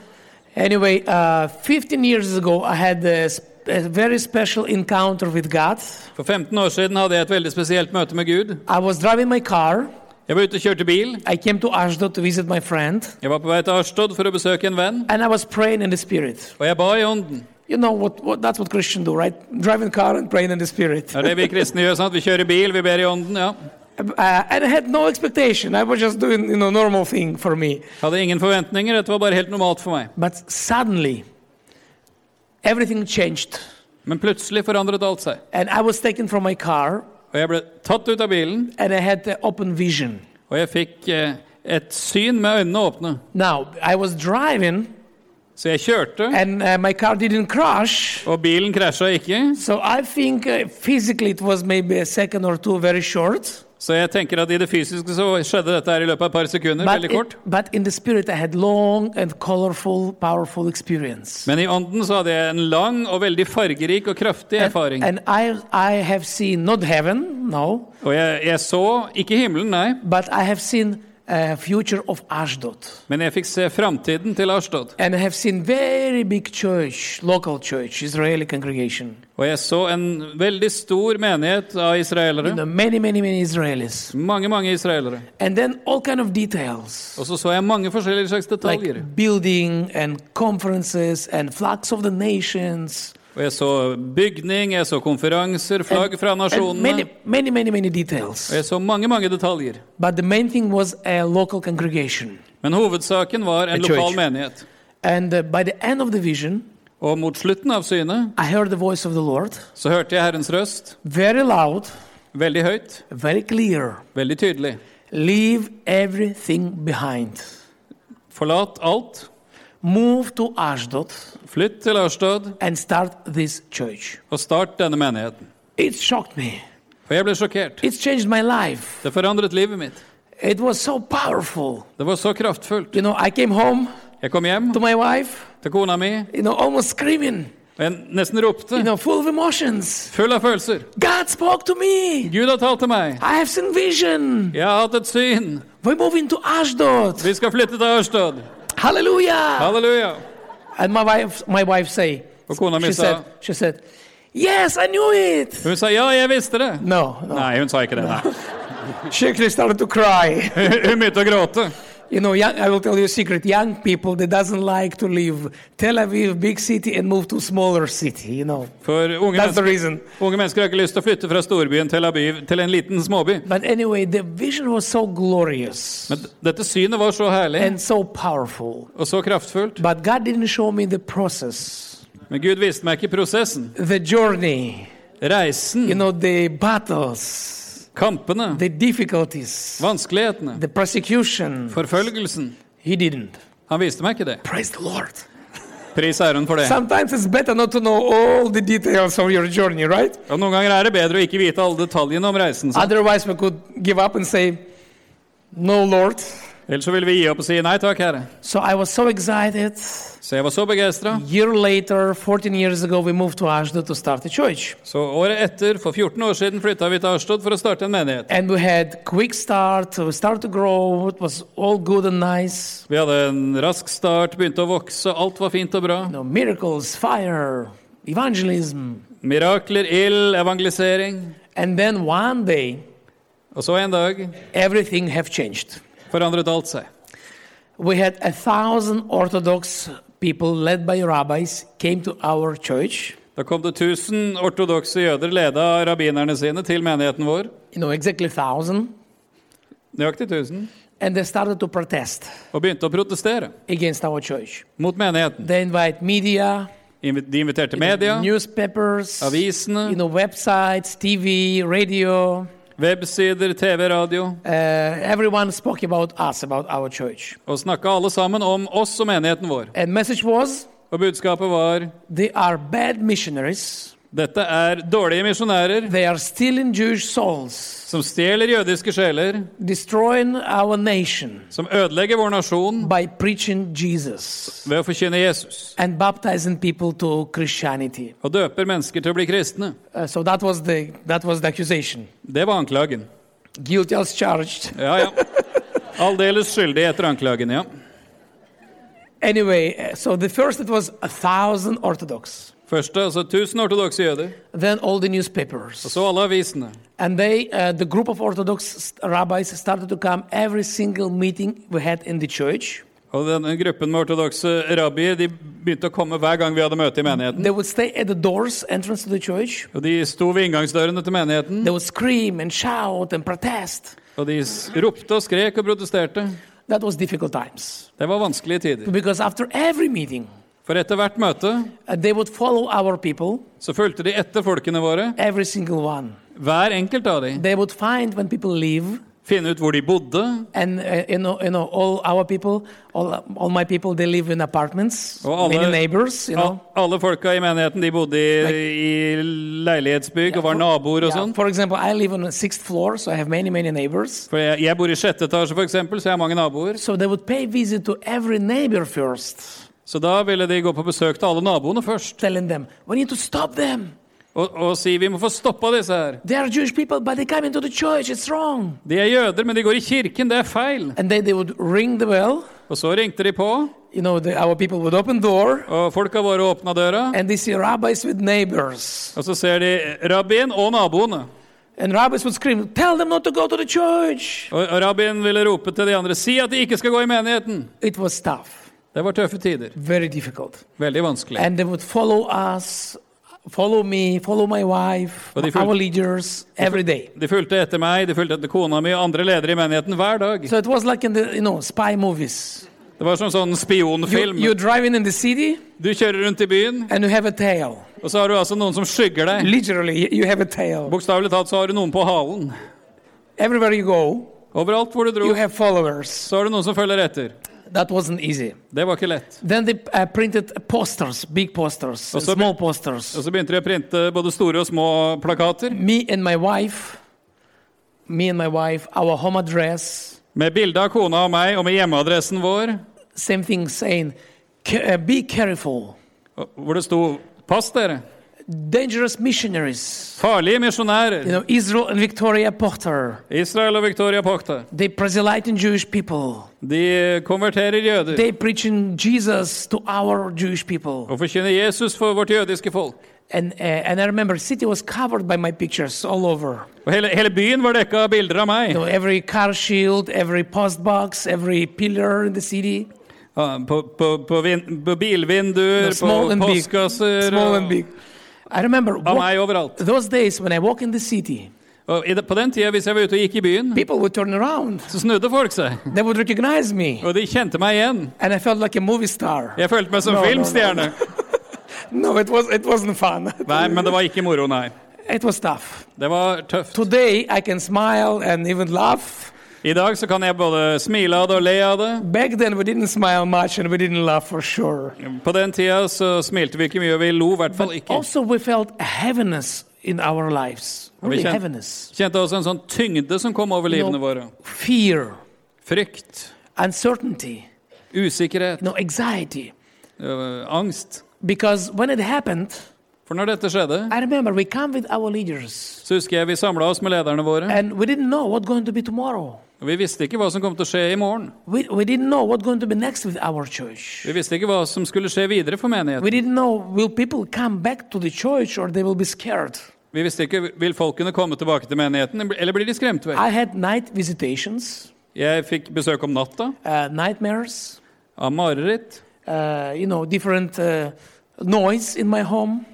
[SPEAKER 1] Anyway, uh, 15 years ago, I had a, sp- a very special encounter with God.
[SPEAKER 2] For 15 år siden hadde jeg et veldig spesielt møte med Gud.
[SPEAKER 1] I was driving my car.
[SPEAKER 2] Jeg var ute og kjørte bil.
[SPEAKER 1] I came to Ashdod to visit my friend,
[SPEAKER 2] Jeg var på vei til Ashtod for å besøke en venn,
[SPEAKER 1] and I was praying in the Spirit.
[SPEAKER 2] og jeg ba i ånden.
[SPEAKER 1] You know what? what that's what Christians do, right? Driving car and praying in the Spirit.
[SPEAKER 2] Det er det
[SPEAKER 1] (laughs)
[SPEAKER 2] vi kristne gjør, sant? Vi kjører bil, vi ber i ånden, ja.
[SPEAKER 1] Uh, and I had no expectation. I was just doing, you know, normal thing for me.
[SPEAKER 2] Hadde ingen forventninger, dette var bare helt normalt for meg.
[SPEAKER 1] But suddenly, everything changed.
[SPEAKER 2] Men plutselig forandret alt seg,
[SPEAKER 1] And I was taken from my car,
[SPEAKER 2] og jeg ble tatt ut av bilen,
[SPEAKER 1] and I had the open vision.
[SPEAKER 2] og jeg fikk eh, et syn med øynene åpne.
[SPEAKER 1] Now, I was driving,
[SPEAKER 2] Så jeg kjørte,
[SPEAKER 1] and uh, my car didn't crash.
[SPEAKER 2] og bilen krasja ikke,
[SPEAKER 1] So I think uh, physically it was maybe a second or two, very short.
[SPEAKER 2] så jeg tenker at i det fysiske så skjedde dette her i løpet av et par sekunder,
[SPEAKER 1] But,
[SPEAKER 2] veldig kort.
[SPEAKER 1] it- but in the spirit, I had long and colorful, powerful experience.
[SPEAKER 2] Men i ånden så hadde jeg en lang og veldig fargerik og kraftig erfaring.
[SPEAKER 1] And I, I have seen not heaven, no,
[SPEAKER 2] Og jeg, jeg så ikke himmelen, nei,
[SPEAKER 1] but I have seen a future of Ashdod.
[SPEAKER 2] men jeg fikk se framtiden til Ashtod.
[SPEAKER 1] And I have seen very big church, local church, Israeli congregation.
[SPEAKER 2] Og jeg så en veldig stor menighet
[SPEAKER 1] You
[SPEAKER 2] av israelere.
[SPEAKER 1] know, many, many, many Israelis.
[SPEAKER 2] Mange, mange israelere.
[SPEAKER 1] And then all kind of details.
[SPEAKER 2] Og så så jeg mange forskjellige slags detaljer.
[SPEAKER 1] like building and conferences and flags of the nations
[SPEAKER 2] Og jeg så bygning, jeg så konferanser, flagg fra
[SPEAKER 1] and many
[SPEAKER 2] nasjonene.
[SPEAKER 1] many many many
[SPEAKER 2] Og
[SPEAKER 1] details
[SPEAKER 2] jeg så mange, mange detaljer.
[SPEAKER 1] but the main thing was a local congregation
[SPEAKER 2] Men hovedsaken var en
[SPEAKER 1] A church.
[SPEAKER 2] lokal menighet.
[SPEAKER 1] and uh, by the end of the vision
[SPEAKER 2] Og mot slutten av synet
[SPEAKER 1] i heard the voice of the lord
[SPEAKER 2] så hørte jeg Herrens røst,
[SPEAKER 1] very loud
[SPEAKER 2] veldig høyt,
[SPEAKER 1] very clear
[SPEAKER 2] veldig tydelig.
[SPEAKER 1] leave everything behind
[SPEAKER 2] Forlat alt,
[SPEAKER 1] move to ashdod
[SPEAKER 2] flytt til Ørstad
[SPEAKER 1] and start this church
[SPEAKER 2] og start denne menigheten.
[SPEAKER 1] it shocked me
[SPEAKER 2] Og jeg ble sjokkert.
[SPEAKER 1] it changed my life
[SPEAKER 2] Det forandret livet mitt.
[SPEAKER 1] it was so powerful
[SPEAKER 2] Det var så kraftfullt.
[SPEAKER 1] you know i came home
[SPEAKER 2] Jeg kom hjem
[SPEAKER 1] to my wife
[SPEAKER 2] til kona mi,
[SPEAKER 1] you know almost screaming
[SPEAKER 2] og jeg nesten ropte.
[SPEAKER 1] you know, full of emotions.
[SPEAKER 2] Full av følelser.
[SPEAKER 1] God spoke to me.
[SPEAKER 2] Gud har talt til meg.
[SPEAKER 1] I have seen vision.
[SPEAKER 2] Jeg har hatt et syn.
[SPEAKER 1] We're moving to Ashdod.
[SPEAKER 2] Vi skal flytte til Ørstad.
[SPEAKER 1] Hallelujah.
[SPEAKER 2] Halleluja.
[SPEAKER 1] And my wife, my wife say,
[SPEAKER 2] Og kona mi
[SPEAKER 1] she
[SPEAKER 2] sa
[SPEAKER 1] said, she said, yes, I knew it.
[SPEAKER 2] Hun sa ja, jeg visste det.
[SPEAKER 1] No, no.
[SPEAKER 2] Nei, hun sa ikke det. Nei.
[SPEAKER 1] She actually started to cry.
[SPEAKER 2] Hun begynte å gråte.
[SPEAKER 1] you know, young, I will tell you a secret. Young people, they doesn't like to leave Tel Aviv, big city, and move to smaller city, you know.
[SPEAKER 2] For unge
[SPEAKER 1] That's the
[SPEAKER 2] mennesker,
[SPEAKER 1] reason.
[SPEAKER 2] unge mennesker har ikke lyst til å flytte fra storbyen Tel Aviv til en liten småby.
[SPEAKER 1] But anyway, the vision was so glorious
[SPEAKER 2] Men d- dette synet var så herlig
[SPEAKER 1] and so powerful.
[SPEAKER 2] og så kraftfullt.
[SPEAKER 1] But God didn't show me the process.
[SPEAKER 2] Men Gud viste meg ikke prosessen.
[SPEAKER 1] the journey, you
[SPEAKER 2] Reisen,
[SPEAKER 1] know, the battles,
[SPEAKER 2] kampene,
[SPEAKER 1] the difficulties,
[SPEAKER 2] vanskelighetene,
[SPEAKER 1] the persecution.
[SPEAKER 2] forfølgelsen.
[SPEAKER 1] He didn't.
[SPEAKER 2] Han viste meg ikke det.
[SPEAKER 1] Praise the Lord.
[SPEAKER 2] Pris æren for det.
[SPEAKER 1] Sometimes it's better not to know all the details of your journey, right?
[SPEAKER 2] Og noen ganger er det bedre å ikke vite alle detaljene om reisen. sant?
[SPEAKER 1] Otherwise, we could give up and say, No, Lord.
[SPEAKER 2] Ellers så ville vi gi opp og si nei takk, herre.
[SPEAKER 1] So I was so excited.
[SPEAKER 2] Så jeg var så begeistra.
[SPEAKER 1] Year later, 14 years ago, we moved to Ashdod to start a church.
[SPEAKER 2] Så året etter, for 14 år siden, flytta vi til Ashtod for å starte en menighet.
[SPEAKER 1] And we had quick start, we started to grow, it was all good and nice.
[SPEAKER 2] Vi hadde en rask start, begynte å vokse, alt var fint og bra.
[SPEAKER 1] You know, miracles, fire, evangelism.
[SPEAKER 2] Mirakler, ild, evangelisering.
[SPEAKER 1] And then one day,
[SPEAKER 2] Og så en dag
[SPEAKER 1] everything have changed.
[SPEAKER 2] forandret alt seg.
[SPEAKER 1] We had a thousand Orthodox people led by rabbis came to our church.
[SPEAKER 2] Da kom det 1000 ortodokse jøder leda av rabbinerne sine til menigheten vår.
[SPEAKER 1] You know, exactly thousand.
[SPEAKER 2] Nøyaktig 1000.
[SPEAKER 1] And they started to protest
[SPEAKER 2] Og begynte å protestere
[SPEAKER 1] against our church.
[SPEAKER 2] mot menigheten.
[SPEAKER 1] They invite media,
[SPEAKER 2] Invi- De inviterte media,
[SPEAKER 1] newspapers,
[SPEAKER 2] avisene,
[SPEAKER 1] you know, websites, TV, radio.
[SPEAKER 2] websider, TV, radio.
[SPEAKER 1] Uh, everyone spoke about us, about our church.
[SPEAKER 2] Og snakka alle sammen om oss og menigheten vår.
[SPEAKER 1] And message was,
[SPEAKER 2] Og budskapet var
[SPEAKER 1] they are bad missionaries.
[SPEAKER 2] dette er dårlige misjonærer
[SPEAKER 1] They are stealing Jewish souls,
[SPEAKER 2] som stjeler jødiske sjeler,
[SPEAKER 1] destroying our nation
[SPEAKER 2] som ødelegger vår nasjon
[SPEAKER 1] by preaching Jesus
[SPEAKER 2] ved å forkynne Jesus.
[SPEAKER 1] and baptizing people to Christianity.
[SPEAKER 2] Og døper mennesker til å bli kristne.
[SPEAKER 1] Uh, so that was the that was the accusation.
[SPEAKER 2] Det var anklagen.
[SPEAKER 1] Guilty as charged.
[SPEAKER 2] Ja, ja. Aldeles skyldig etter anklagen, ja.
[SPEAKER 1] Anyway, uh, so the first it was a thousand Orthodox,
[SPEAKER 2] Første, altså 1000 ortodokse jøder.
[SPEAKER 1] then all the newspapers,
[SPEAKER 2] Så alle avisene.
[SPEAKER 1] and they uh, the group of Orthodox st- rabbis started to come every single meeting we had in the church.
[SPEAKER 2] Og denne gruppen med ortodokse rabbier de begynte å komme hver gang vi hadde møte i menigheten.
[SPEAKER 1] They would stay at the doors, entrance to the church.
[SPEAKER 2] Og de sto ved inngangsdørene til menigheten,
[SPEAKER 1] They would scream and shout and protest.
[SPEAKER 2] og de s- ropte og skrek og protesterte.
[SPEAKER 1] That was difficult times
[SPEAKER 2] Det var vanskelige tider.
[SPEAKER 1] because after every meeting,
[SPEAKER 2] For etter hvert møte
[SPEAKER 1] uh, they would follow our people,
[SPEAKER 2] så fulgte de etter folkene våre,
[SPEAKER 1] every single one.
[SPEAKER 2] hver enkelt av de.
[SPEAKER 1] They would find when people leave
[SPEAKER 2] Finne ut hvor de bodde.
[SPEAKER 1] and uh, you know, you know, all our people, all, all my people, they live in apartments,
[SPEAKER 2] Oh, all
[SPEAKER 1] many
[SPEAKER 2] the-
[SPEAKER 1] neighbors, you know.
[SPEAKER 2] Al- Alle folka i menigheten de bodde i, i leilighetsbygg og var naboer og
[SPEAKER 1] Yeah,
[SPEAKER 2] sånn.
[SPEAKER 1] For example, I live on the sixth floor, so I have many, many neighbors.
[SPEAKER 2] For jeg, jeg bor i sjette etasje, for eksempel, så jeg har mange naboer.
[SPEAKER 1] So they would pay visit to every neighbor first,
[SPEAKER 2] Så da ville de gå på besøk til alle naboene først
[SPEAKER 1] telling them, we need to stop them.
[SPEAKER 2] og, og si vi må få stoppa disse her.
[SPEAKER 1] They are Jewish people, but they come into the church, it's wrong.
[SPEAKER 2] De er jøder, men de går i kirken. Det er feil.
[SPEAKER 1] And then they would ring the bell,
[SPEAKER 2] Og så ringte de på,
[SPEAKER 1] you know, the, our people would open door,
[SPEAKER 2] og folka våre åpna døra.
[SPEAKER 1] and they see rabbis with neighbors.
[SPEAKER 2] Og så ser de rabbien og naboene.
[SPEAKER 1] And rabbis would scream, tell them not to go to the church.
[SPEAKER 2] Og, og rabbien ville rope til de andre si at de ikke skal gå i menigheten.
[SPEAKER 1] It was tough,
[SPEAKER 2] Det var tøffe tider.
[SPEAKER 1] very difficult.
[SPEAKER 2] Veldig vanskelig.
[SPEAKER 1] and they would follow us, follow me, follow my wife,
[SPEAKER 2] But if you-
[SPEAKER 1] our leaders every day.
[SPEAKER 2] De fulgte etter meg, de fulgte etter kona mi og andre ledere i menigheten hver dag.
[SPEAKER 1] So it was like in the you know spy movies.
[SPEAKER 2] Det var som sånn
[SPEAKER 1] You,
[SPEAKER 2] spionfilm.
[SPEAKER 1] you're driving in the city
[SPEAKER 2] Du kjører rundt i byen,
[SPEAKER 1] and you have a tail.
[SPEAKER 2] og så har du altså noen som skygger deg.
[SPEAKER 1] Literally, you- you have a tail.
[SPEAKER 2] Bokstavelig talt så har du noen på halen.
[SPEAKER 1] Everywhere you go,
[SPEAKER 2] Overalt hvor du dro,
[SPEAKER 1] you have followers.
[SPEAKER 2] så har du noen som følger etter.
[SPEAKER 1] That wasn't easy.
[SPEAKER 2] Det var ikke lett.
[SPEAKER 1] Then they uh, printed posters, big posters, and
[SPEAKER 2] so-
[SPEAKER 1] small posters.
[SPEAKER 2] Og så begynte de å printe både store og små plakater
[SPEAKER 1] Me and my wife, me and my wife, our home address,
[SPEAKER 2] med bilde av kona og meg og med hjemmeadressen vår,
[SPEAKER 1] same thing saying, "Ca- uh, be careful,
[SPEAKER 2] og- hvor det sto 'Pass dere!
[SPEAKER 1] dangerous missionaries.
[SPEAKER 2] Farlige
[SPEAKER 1] You
[SPEAKER 2] misjonærer'.
[SPEAKER 1] know, Israel and Victoria Potter,
[SPEAKER 2] Israel og Victoria Pakta.
[SPEAKER 1] they proselyting Jewish people.
[SPEAKER 2] De konverterer jøder
[SPEAKER 1] They preaching Jesus to our Jewish people.
[SPEAKER 2] og forkynner Jesus for vårt jødiske folk.
[SPEAKER 1] And, uh, and I remember city was covered by my pictures all over.
[SPEAKER 2] Og hele, hele byen var dekka av bilder av meg
[SPEAKER 1] You know, every car shield, every post box, every pillar in the city.
[SPEAKER 2] Ja, på, på, på, vin, på bilvinduer,
[SPEAKER 1] Small
[SPEAKER 2] på
[SPEAKER 1] and big.
[SPEAKER 2] postkasser
[SPEAKER 1] Small
[SPEAKER 2] og-
[SPEAKER 1] and big. I remember
[SPEAKER 2] av
[SPEAKER 1] walk-
[SPEAKER 2] meg overalt.
[SPEAKER 1] those days when I walk in the city,
[SPEAKER 2] Og i, det- på den tida, hvis jeg var ute og gikk i byen,
[SPEAKER 1] people would turn around.
[SPEAKER 2] så snudde folk seg.
[SPEAKER 1] They would recognize me.
[SPEAKER 2] Og de kjente meg igjen.
[SPEAKER 1] And I felt like a movie star.
[SPEAKER 2] Jeg følte meg som
[SPEAKER 1] No, no, no.
[SPEAKER 2] filmstjerne.
[SPEAKER 1] No, it, was, it wasn't fun. (laughs)
[SPEAKER 2] Nei, men det var ikke moro, nei.
[SPEAKER 1] it was tough.
[SPEAKER 2] Det var tøft.
[SPEAKER 1] Today I can smile and even laugh.
[SPEAKER 2] I dag så kan jeg både smile av det og le av det.
[SPEAKER 1] Back then we didn't smile much and we didn't laugh for sure.
[SPEAKER 2] På den tida så smilte vi ikke mye, og vi lo i hvert fall ikke.
[SPEAKER 1] Also we felt a heaviness in our lives. Really
[SPEAKER 2] kjen-
[SPEAKER 1] heaviness.
[SPEAKER 2] Kjente også en sånn tyngde som kom over
[SPEAKER 1] No.
[SPEAKER 2] livene våre.
[SPEAKER 1] Fear,
[SPEAKER 2] Frykt,
[SPEAKER 1] uncertainty,
[SPEAKER 2] usikkerhet,
[SPEAKER 1] you know, anxiety.
[SPEAKER 2] øh, angst.
[SPEAKER 1] Because when it happened,
[SPEAKER 2] For når dette skjedde,
[SPEAKER 1] I remember we come with our leaders
[SPEAKER 2] så husker jeg vi samla oss med lederne våre.
[SPEAKER 1] and we didn't know what's going to be tomorrow.
[SPEAKER 2] Og vi visste ikke hva som kom til å skje i morgen.
[SPEAKER 1] We, we didn't know what's going to be next with our church.
[SPEAKER 2] Vi visste ikke hva som skulle skje videre for menigheten.
[SPEAKER 1] We didn't know will people come back to the church or they will be scared.
[SPEAKER 2] Vi visste ikke vil folk kunne komme tilbake til menigheten, eller blir de skremt vekk?
[SPEAKER 1] I had night visitations,
[SPEAKER 2] Jeg fikk besøk om natta
[SPEAKER 1] uh, nightmares.
[SPEAKER 2] av mareritt.
[SPEAKER 1] uh, you know, different uh, noise in my home.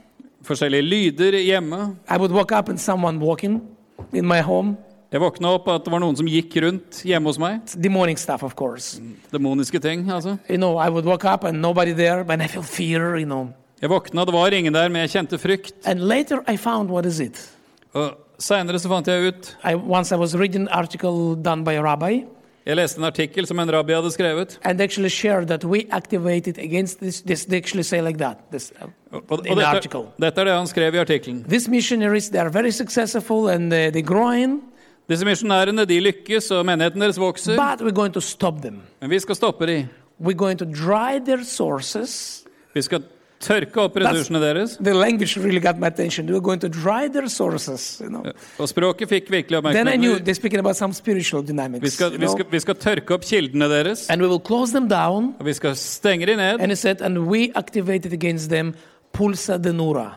[SPEAKER 2] Forskjellige lyder hjemme.
[SPEAKER 1] I would wake up and someone walking in my home.
[SPEAKER 2] Jeg våkna opp at det var noen som gikk rundt hjemme hos meg.
[SPEAKER 1] It's demonic stuff, of course.
[SPEAKER 2] Demoniske ting, altså.
[SPEAKER 1] You know, I would wake up and nobody there, and I feel fear, you know.
[SPEAKER 2] Jeg våkna, det var ingen der, men jeg kjente frykt.
[SPEAKER 1] And later I found what is it.
[SPEAKER 2] Og seinere så fant jeg ut
[SPEAKER 1] I, once I was reading an article done by a rabbi
[SPEAKER 2] Jeg leste en artikkel som en rabbi hadde skrevet.
[SPEAKER 1] and actually shared that we activated against this. this they actually say like that. This, uh,
[SPEAKER 2] Og, og
[SPEAKER 1] In the
[SPEAKER 2] dette,
[SPEAKER 1] article.
[SPEAKER 2] dette er det han skrev i artikkelen.
[SPEAKER 1] these missionaries, they are very successful and uh, they're growing,
[SPEAKER 2] Disse misjonærene de lykkes, og menigheten deres vokser.
[SPEAKER 1] but we're going to stop them.
[SPEAKER 2] Men vi skal stoppe de.
[SPEAKER 1] We're going to dry their sources.
[SPEAKER 2] Vi skal tørke opp ressursene deres.
[SPEAKER 1] The language really got my attention. We're going to dry their sources. You know.
[SPEAKER 2] Og språket fikk virkelig
[SPEAKER 1] Then I knew
[SPEAKER 2] oppmerksomhet.
[SPEAKER 1] they're speaking about some spiritual
[SPEAKER 2] Vi
[SPEAKER 1] dynamics.
[SPEAKER 2] skal,
[SPEAKER 1] you
[SPEAKER 2] vi,
[SPEAKER 1] know.
[SPEAKER 2] skal, vi skal tørke opp kildene deres,
[SPEAKER 1] And we will close them down.
[SPEAKER 2] og vi skal stenge de ned.
[SPEAKER 1] And he said, and we activated against them Pulsa Denura.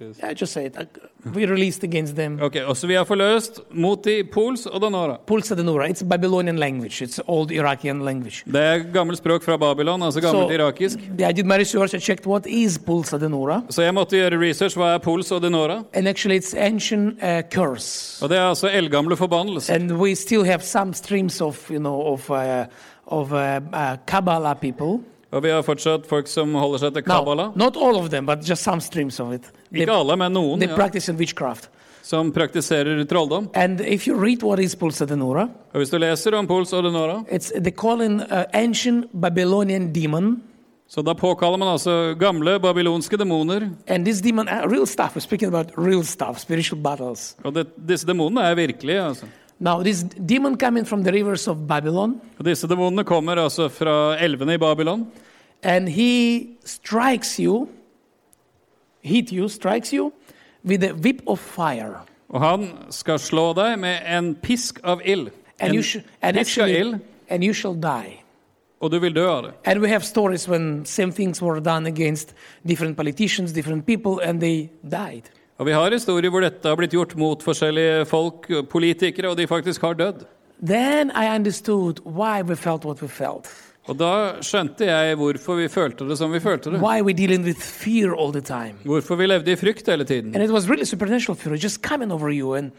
[SPEAKER 1] Yeah, I just say it. Like, We released against them
[SPEAKER 2] Ok, og så vi har forløst mot de Pols og Danora.
[SPEAKER 1] Pulsa Denura. It's Babylonian language. It's old Iraqi language.
[SPEAKER 2] Det er gammelt språk fra Babylon, altså gammelt irakisk.
[SPEAKER 1] yeah, I did my research. I checked what is Pulsa Denura.
[SPEAKER 2] Så jeg måtte gjøre research. Hva er Pols og Denora?
[SPEAKER 1] And actually, it's ancient uh, curse.
[SPEAKER 2] Og det er altså eldgamle forbannelser.
[SPEAKER 1] And we still have some streams of, you know, of, uh, of uh, uh, Kabbalah people.
[SPEAKER 2] Og vi har fortsatt folk som holder seg til
[SPEAKER 1] Now,
[SPEAKER 2] Kabbala.
[SPEAKER 1] not all of them, but just some streams of it. They,
[SPEAKER 2] Ikke alle, men noen
[SPEAKER 1] they
[SPEAKER 2] ja,
[SPEAKER 1] practice in witchcraft.
[SPEAKER 2] som praktiserer trolldom.
[SPEAKER 1] And if you read what is Pulsa Denura,
[SPEAKER 2] Og hvis du leser om Pols og Denora,
[SPEAKER 1] It's they call an uh, ancient Babylonian demon,
[SPEAKER 2] så da påkaller man altså gamle babylonske demoner.
[SPEAKER 1] and this demon, uh, real stuff. We're speaking about real stuff, spiritual battles.
[SPEAKER 2] Og det, disse demonene er virkelige, altså.
[SPEAKER 1] Now, this demon coming from the rivers of Babylon,
[SPEAKER 2] Og disse demonene kommer altså fra elvene i Babylon.
[SPEAKER 1] and he strikes you, hit you, strikes you with a whip of fire,
[SPEAKER 2] Og han skal slå deg med en pisk av ild.
[SPEAKER 1] and
[SPEAKER 2] En
[SPEAKER 1] you sh- and
[SPEAKER 2] pisk av
[SPEAKER 1] actually,
[SPEAKER 2] ild,
[SPEAKER 1] and you shall die.
[SPEAKER 2] og du vil dø av det.
[SPEAKER 1] And we have stories when same things were done against different politicians, different people, and they died.
[SPEAKER 2] Og vi har historier hvor dette har blitt gjort mot forskjellige folk, politikere, og de faktisk har dødd.
[SPEAKER 1] Then I understood why we felt what we felt.
[SPEAKER 2] Og da skjønte jeg hvorfor vi følte det som vi følte det.
[SPEAKER 1] why we're dealing with fear all the time.
[SPEAKER 2] Hvorfor vi levde i frykt hele tiden.
[SPEAKER 1] And it was really supernatural fear, just coming over you. And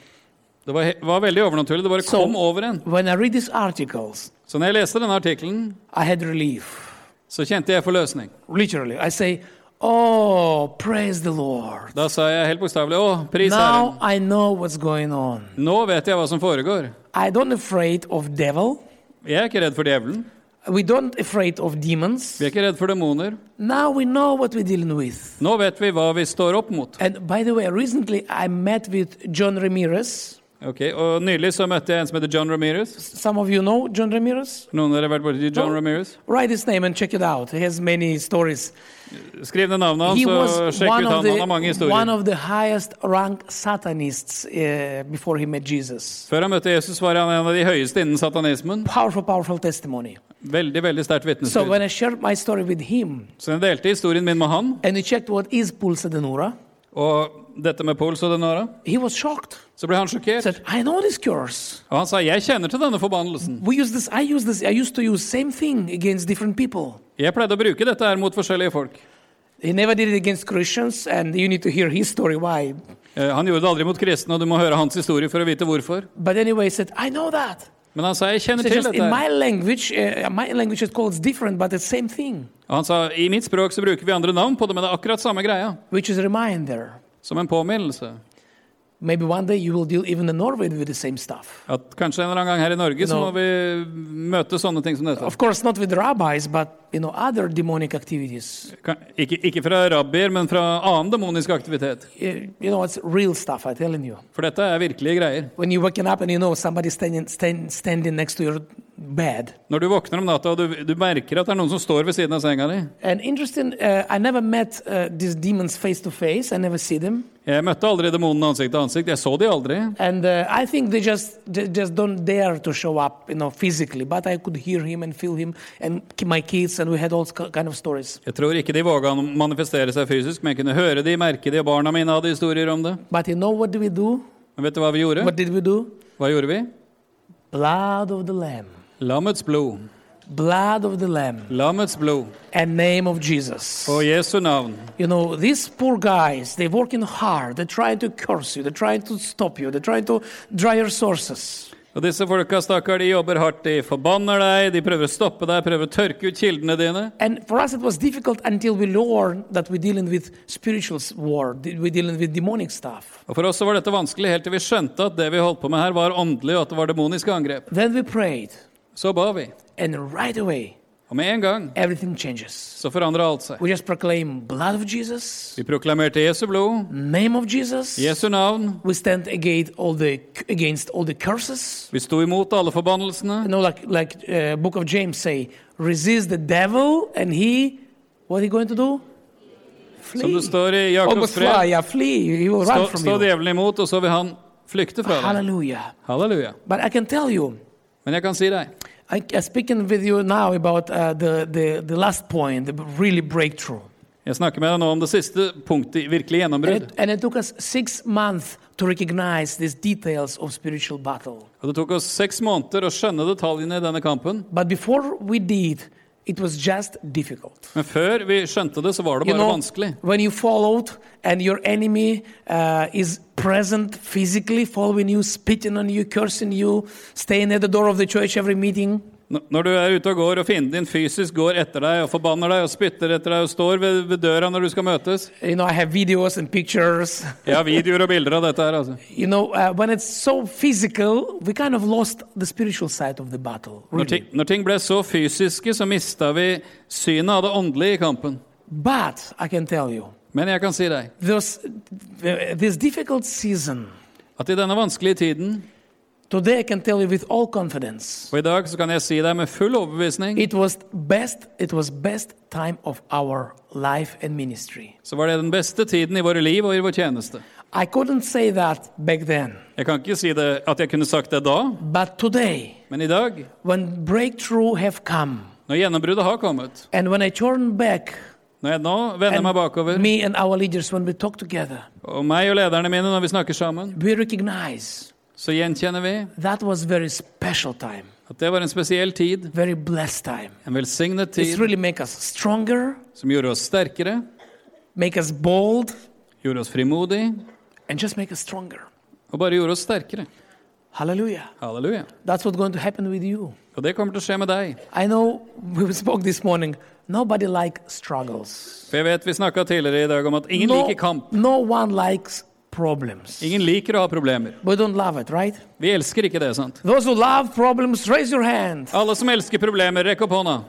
[SPEAKER 2] Det var, he- var veldig overnaturlig. Det bare
[SPEAKER 1] Så-
[SPEAKER 2] kom over en.
[SPEAKER 1] when I read these articles,
[SPEAKER 2] Så når jeg leste denne artikkelen,
[SPEAKER 1] I had relief.
[SPEAKER 2] så kjente jeg forløsning.
[SPEAKER 1] Literally, I say, "Oh, praise the Lord!
[SPEAKER 2] Da sa jeg helt bokstavelig Å, pris
[SPEAKER 1] Now
[SPEAKER 2] Herren.
[SPEAKER 1] I know what's going on.
[SPEAKER 2] Nå vet jeg hva som foregår.
[SPEAKER 1] I don't afraid of devil.
[SPEAKER 2] Jeg er ikke redd for djevelen.
[SPEAKER 1] We don't afraid of demons.
[SPEAKER 2] Vi er ikke redd for demoner.
[SPEAKER 1] Now we know what we're dealing with."
[SPEAKER 2] Nå vet vi hva vi står opp mot.
[SPEAKER 1] And by the way, recently I met with John Ramirez.
[SPEAKER 2] Ok, og Nylig så møtte jeg en som heter John Ramirez.
[SPEAKER 1] Some of you know John Ramirez.
[SPEAKER 2] Noen av dere har vært borti John
[SPEAKER 1] No.
[SPEAKER 2] Ramirez?
[SPEAKER 1] Write his name and check it out. He has many stories.
[SPEAKER 2] Skriv ned navnet
[SPEAKER 1] He
[SPEAKER 2] hans, og
[SPEAKER 1] was
[SPEAKER 2] sjekk
[SPEAKER 1] one
[SPEAKER 2] ut
[SPEAKER 1] of,
[SPEAKER 2] han.
[SPEAKER 1] the,
[SPEAKER 2] Han har mange
[SPEAKER 1] one
[SPEAKER 2] historier.
[SPEAKER 1] of the highest ranked satanists uh, before he met Jesus.
[SPEAKER 2] Før han møtte Jesus, var han en av de høyeste innen satanismen.
[SPEAKER 1] Powerful, powerful testimony.
[SPEAKER 2] Veldig, veldig sterkt
[SPEAKER 1] So when
[SPEAKER 2] vitnesbyrd.
[SPEAKER 1] I shared my story with him,
[SPEAKER 2] Så jeg delte historien min med han,
[SPEAKER 1] and he checked what is Pulsa Denura,
[SPEAKER 2] og dette med Pols og Denora.
[SPEAKER 1] he was shocked.
[SPEAKER 2] Så ble han
[SPEAKER 1] He
[SPEAKER 2] sjokkert.
[SPEAKER 1] said, I know this curse.
[SPEAKER 2] Og han sa 'Jeg kjenner til denne forbannelsen'.
[SPEAKER 1] We use this, I use this, I used to use same thing against different people.
[SPEAKER 2] Jeg pleide å bruke dette her mot forskjellige folk.
[SPEAKER 1] He never did it against Christians, and you need to hear his story why.
[SPEAKER 2] Eh, Han gjorde det aldri mot kristne, og du må høre hans historie for å vite hvorfor.
[SPEAKER 1] But anyway, he said, I know that.
[SPEAKER 2] Men han sa 'Jeg kjenner
[SPEAKER 1] So
[SPEAKER 2] til
[SPEAKER 1] just
[SPEAKER 2] dette'.
[SPEAKER 1] in
[SPEAKER 2] her.
[SPEAKER 1] my language, uh, my language is called it's different, but it's same thing,
[SPEAKER 2] Og han sa 'I mitt språk så bruker vi andre navn på det, men det er akkurat samme greia'.
[SPEAKER 1] which is a reminder.
[SPEAKER 2] Som en påminnelse.
[SPEAKER 1] Maybe one day you will deal even in Norway with the same stuff.
[SPEAKER 2] At kanskje en eller annen gang her i Norge så
[SPEAKER 1] No.
[SPEAKER 2] må vi møte sånne ting som dette.
[SPEAKER 1] Of course, not with rabbis, but you know other demonic activities.
[SPEAKER 2] Kan- Ikke, ikke fra rabbier, men fra annen demonisk aktivitet.
[SPEAKER 1] Eh, You know, it's real stuff. I'm telling you.
[SPEAKER 2] For dette er virkelige greier.
[SPEAKER 1] When you're waking up and you know somebody standing stand, standing next to your bed.
[SPEAKER 2] Når du våkner om natta og du, du merker at det er noen som står ved siden av senga di
[SPEAKER 1] And interesting, uh, I never met uh, these demons face to face. I never see them,
[SPEAKER 2] Jeg møtte aldri demonene ansikt til ansikt. Jeg så de aldri.
[SPEAKER 1] and uh, I think they just they just don't dare to show up, you know, physically. But I could hear him and feel him, and ki- my kids, and we had all ki- kind of stories.
[SPEAKER 2] Jeg tror ikke de våga å manifestere seg fysisk, men jeg kunne høre de, merke de, og barna mine hadde historier om det.
[SPEAKER 1] But you know what do we do?
[SPEAKER 2] Men vet du hva vi gjorde?
[SPEAKER 1] What did we do?
[SPEAKER 2] Hva gjorde vi?
[SPEAKER 1] Blood of the Lamb.
[SPEAKER 2] Lammets blod.
[SPEAKER 1] blood of the lamb
[SPEAKER 2] Lammets blod.
[SPEAKER 1] and name of jesus
[SPEAKER 2] Og Jesu navn.
[SPEAKER 1] you know these poor guys they're working hard they're trying to curse you they're trying to stop you they're trying to dry your sources
[SPEAKER 2] Og disse folka, stakkar, de jobber hardt. De forbanner deg, de prøver å stoppe deg, prøver å tørke ut kildene dine.
[SPEAKER 1] And for us, it was difficult until we learned that we're dealing with spiritual s- war, d- we're dealing with demonic stuff.
[SPEAKER 2] Og For oss så var dette vanskelig helt til vi skjønte at det vi holdt på med her, var åndelig, og at det var demoniske angrep.
[SPEAKER 1] Then we prayed,
[SPEAKER 2] Så ba vi.
[SPEAKER 1] and right away,
[SPEAKER 2] Og med en gang
[SPEAKER 1] everything changes.
[SPEAKER 2] så forandra alt seg.
[SPEAKER 1] We just proclaim blood of Jesus,
[SPEAKER 2] Vi proklamerte Jesu blod,
[SPEAKER 1] name of Jesus.
[SPEAKER 2] Jesu navn.
[SPEAKER 1] We stand against all the against all the curses.
[SPEAKER 2] Vi sto imot alle forbannelsene.
[SPEAKER 1] You know, like like uh, Book of James say, resist the devil, and he, what he going to do?
[SPEAKER 2] Som
[SPEAKER 1] Flee.
[SPEAKER 2] det står i Jakobs
[SPEAKER 1] Almost fly,
[SPEAKER 2] brev,
[SPEAKER 1] yeah, flee. He will run
[SPEAKER 2] stå,
[SPEAKER 1] from
[SPEAKER 2] stå
[SPEAKER 1] you.
[SPEAKER 2] djevelen imot, og så vil han flykte fra deg.
[SPEAKER 1] Hallelujah.
[SPEAKER 2] Halleluja.
[SPEAKER 1] But I can tell you,
[SPEAKER 2] Men jeg kan si deg,
[SPEAKER 1] I, I'm speaking with you now about uh, the, the, the last point, the really breakthrough.
[SPEAKER 2] jeg snakker med deg nå om det siste punktet, i virkelig
[SPEAKER 1] And
[SPEAKER 2] gjennombrudd.
[SPEAKER 1] it, and it took us six months to recognize these details of spiritual battle.
[SPEAKER 2] Og det tok oss seks måneder å skjønne detaljene i denne kampen.
[SPEAKER 1] But before we did, it was just difficult.
[SPEAKER 2] Men før vi skjønte det, så var det
[SPEAKER 1] You
[SPEAKER 2] bare
[SPEAKER 1] know,
[SPEAKER 2] vanskelig.
[SPEAKER 1] when you followed and your enemy uh, is present physically following you, spitting on you, cursing you, staying at the door of the church every meeting,
[SPEAKER 2] N- Når du er ute og går, og fienden din fysisk går etter deg og forbanner deg og spytter etter deg og står ved, ved døra når du skal møtes
[SPEAKER 1] you know, I have videos and pictures. (laughs)
[SPEAKER 2] Jeg har videoer og bilder av dette her, altså.
[SPEAKER 1] You know, uh, when it's so physical, we kind of lost the spiritual side of the battle.
[SPEAKER 2] Når
[SPEAKER 1] Really.
[SPEAKER 2] ting, når ting ble så fysiske, så mista vi synet av det åndelige i kampen.
[SPEAKER 1] But I can tell you,
[SPEAKER 2] Men jeg kan si deg
[SPEAKER 1] this, this difficult season,
[SPEAKER 2] at i denne vanskelige tiden,
[SPEAKER 1] today I can tell you with all confidence,
[SPEAKER 2] og i dag, så kan jeg si deg med full overbevisning,
[SPEAKER 1] it was best, it was best time of our life and ministry.
[SPEAKER 2] så var det den beste tiden i våre liv og i vår tjeneste.
[SPEAKER 1] I couldn't say that back then,
[SPEAKER 2] Jeg kan ikke si det at jeg kunne sagt det da,
[SPEAKER 1] but today,
[SPEAKER 2] men i dag,
[SPEAKER 1] when breakthrough have come,
[SPEAKER 2] når gjennombruddet har kommet,
[SPEAKER 1] and when I turn back,
[SPEAKER 2] når jeg nå vender meg bakover,
[SPEAKER 1] me and our leaders, when we talk together,
[SPEAKER 2] og meg og lederne mine når vi snakker sammen,
[SPEAKER 1] we recognize
[SPEAKER 2] så gjenkjenner vi
[SPEAKER 1] that was very special time.
[SPEAKER 2] at det var en spesiell tid,
[SPEAKER 1] very blessed time.
[SPEAKER 2] en velsignet
[SPEAKER 1] It's
[SPEAKER 2] tid
[SPEAKER 1] really make us stronger,
[SPEAKER 2] som gjorde oss sterkere,
[SPEAKER 1] make us bold,
[SPEAKER 2] gjorde oss frimodige,
[SPEAKER 1] and just make us stronger.
[SPEAKER 2] og bare gjorde oss sterkere.
[SPEAKER 1] Hallelujah.
[SPEAKER 2] Halleluja.
[SPEAKER 1] That's what's going to happen with you.
[SPEAKER 2] Og det kommer til å skje med deg.
[SPEAKER 1] I know we (laughs) spoke this morning. Nobody likes struggles.
[SPEAKER 2] For jeg vet vi snakka tidligere i dag om at ingen
[SPEAKER 1] No,
[SPEAKER 2] liker kamp.
[SPEAKER 1] no one likes problems.
[SPEAKER 2] Ingen liker å ha problemer.
[SPEAKER 1] We don't love it, right?
[SPEAKER 2] Vi elsker ikke det, sant?
[SPEAKER 1] Those who love problems, raise your hand.
[SPEAKER 2] Alle som elsker problemer, rekk opp
[SPEAKER 1] (laughs)
[SPEAKER 2] hånda.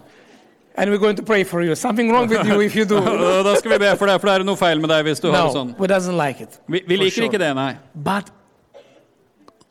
[SPEAKER 1] And we're going to pray for you. Something wrong with you if you do.
[SPEAKER 2] Og Da skal vi be for deg, for det er noe feil med deg hvis du har det sånn.
[SPEAKER 1] No, we doesn't like it.
[SPEAKER 2] Vi, vi
[SPEAKER 1] For
[SPEAKER 2] liker
[SPEAKER 1] sure.
[SPEAKER 2] ikke det, nei.
[SPEAKER 1] But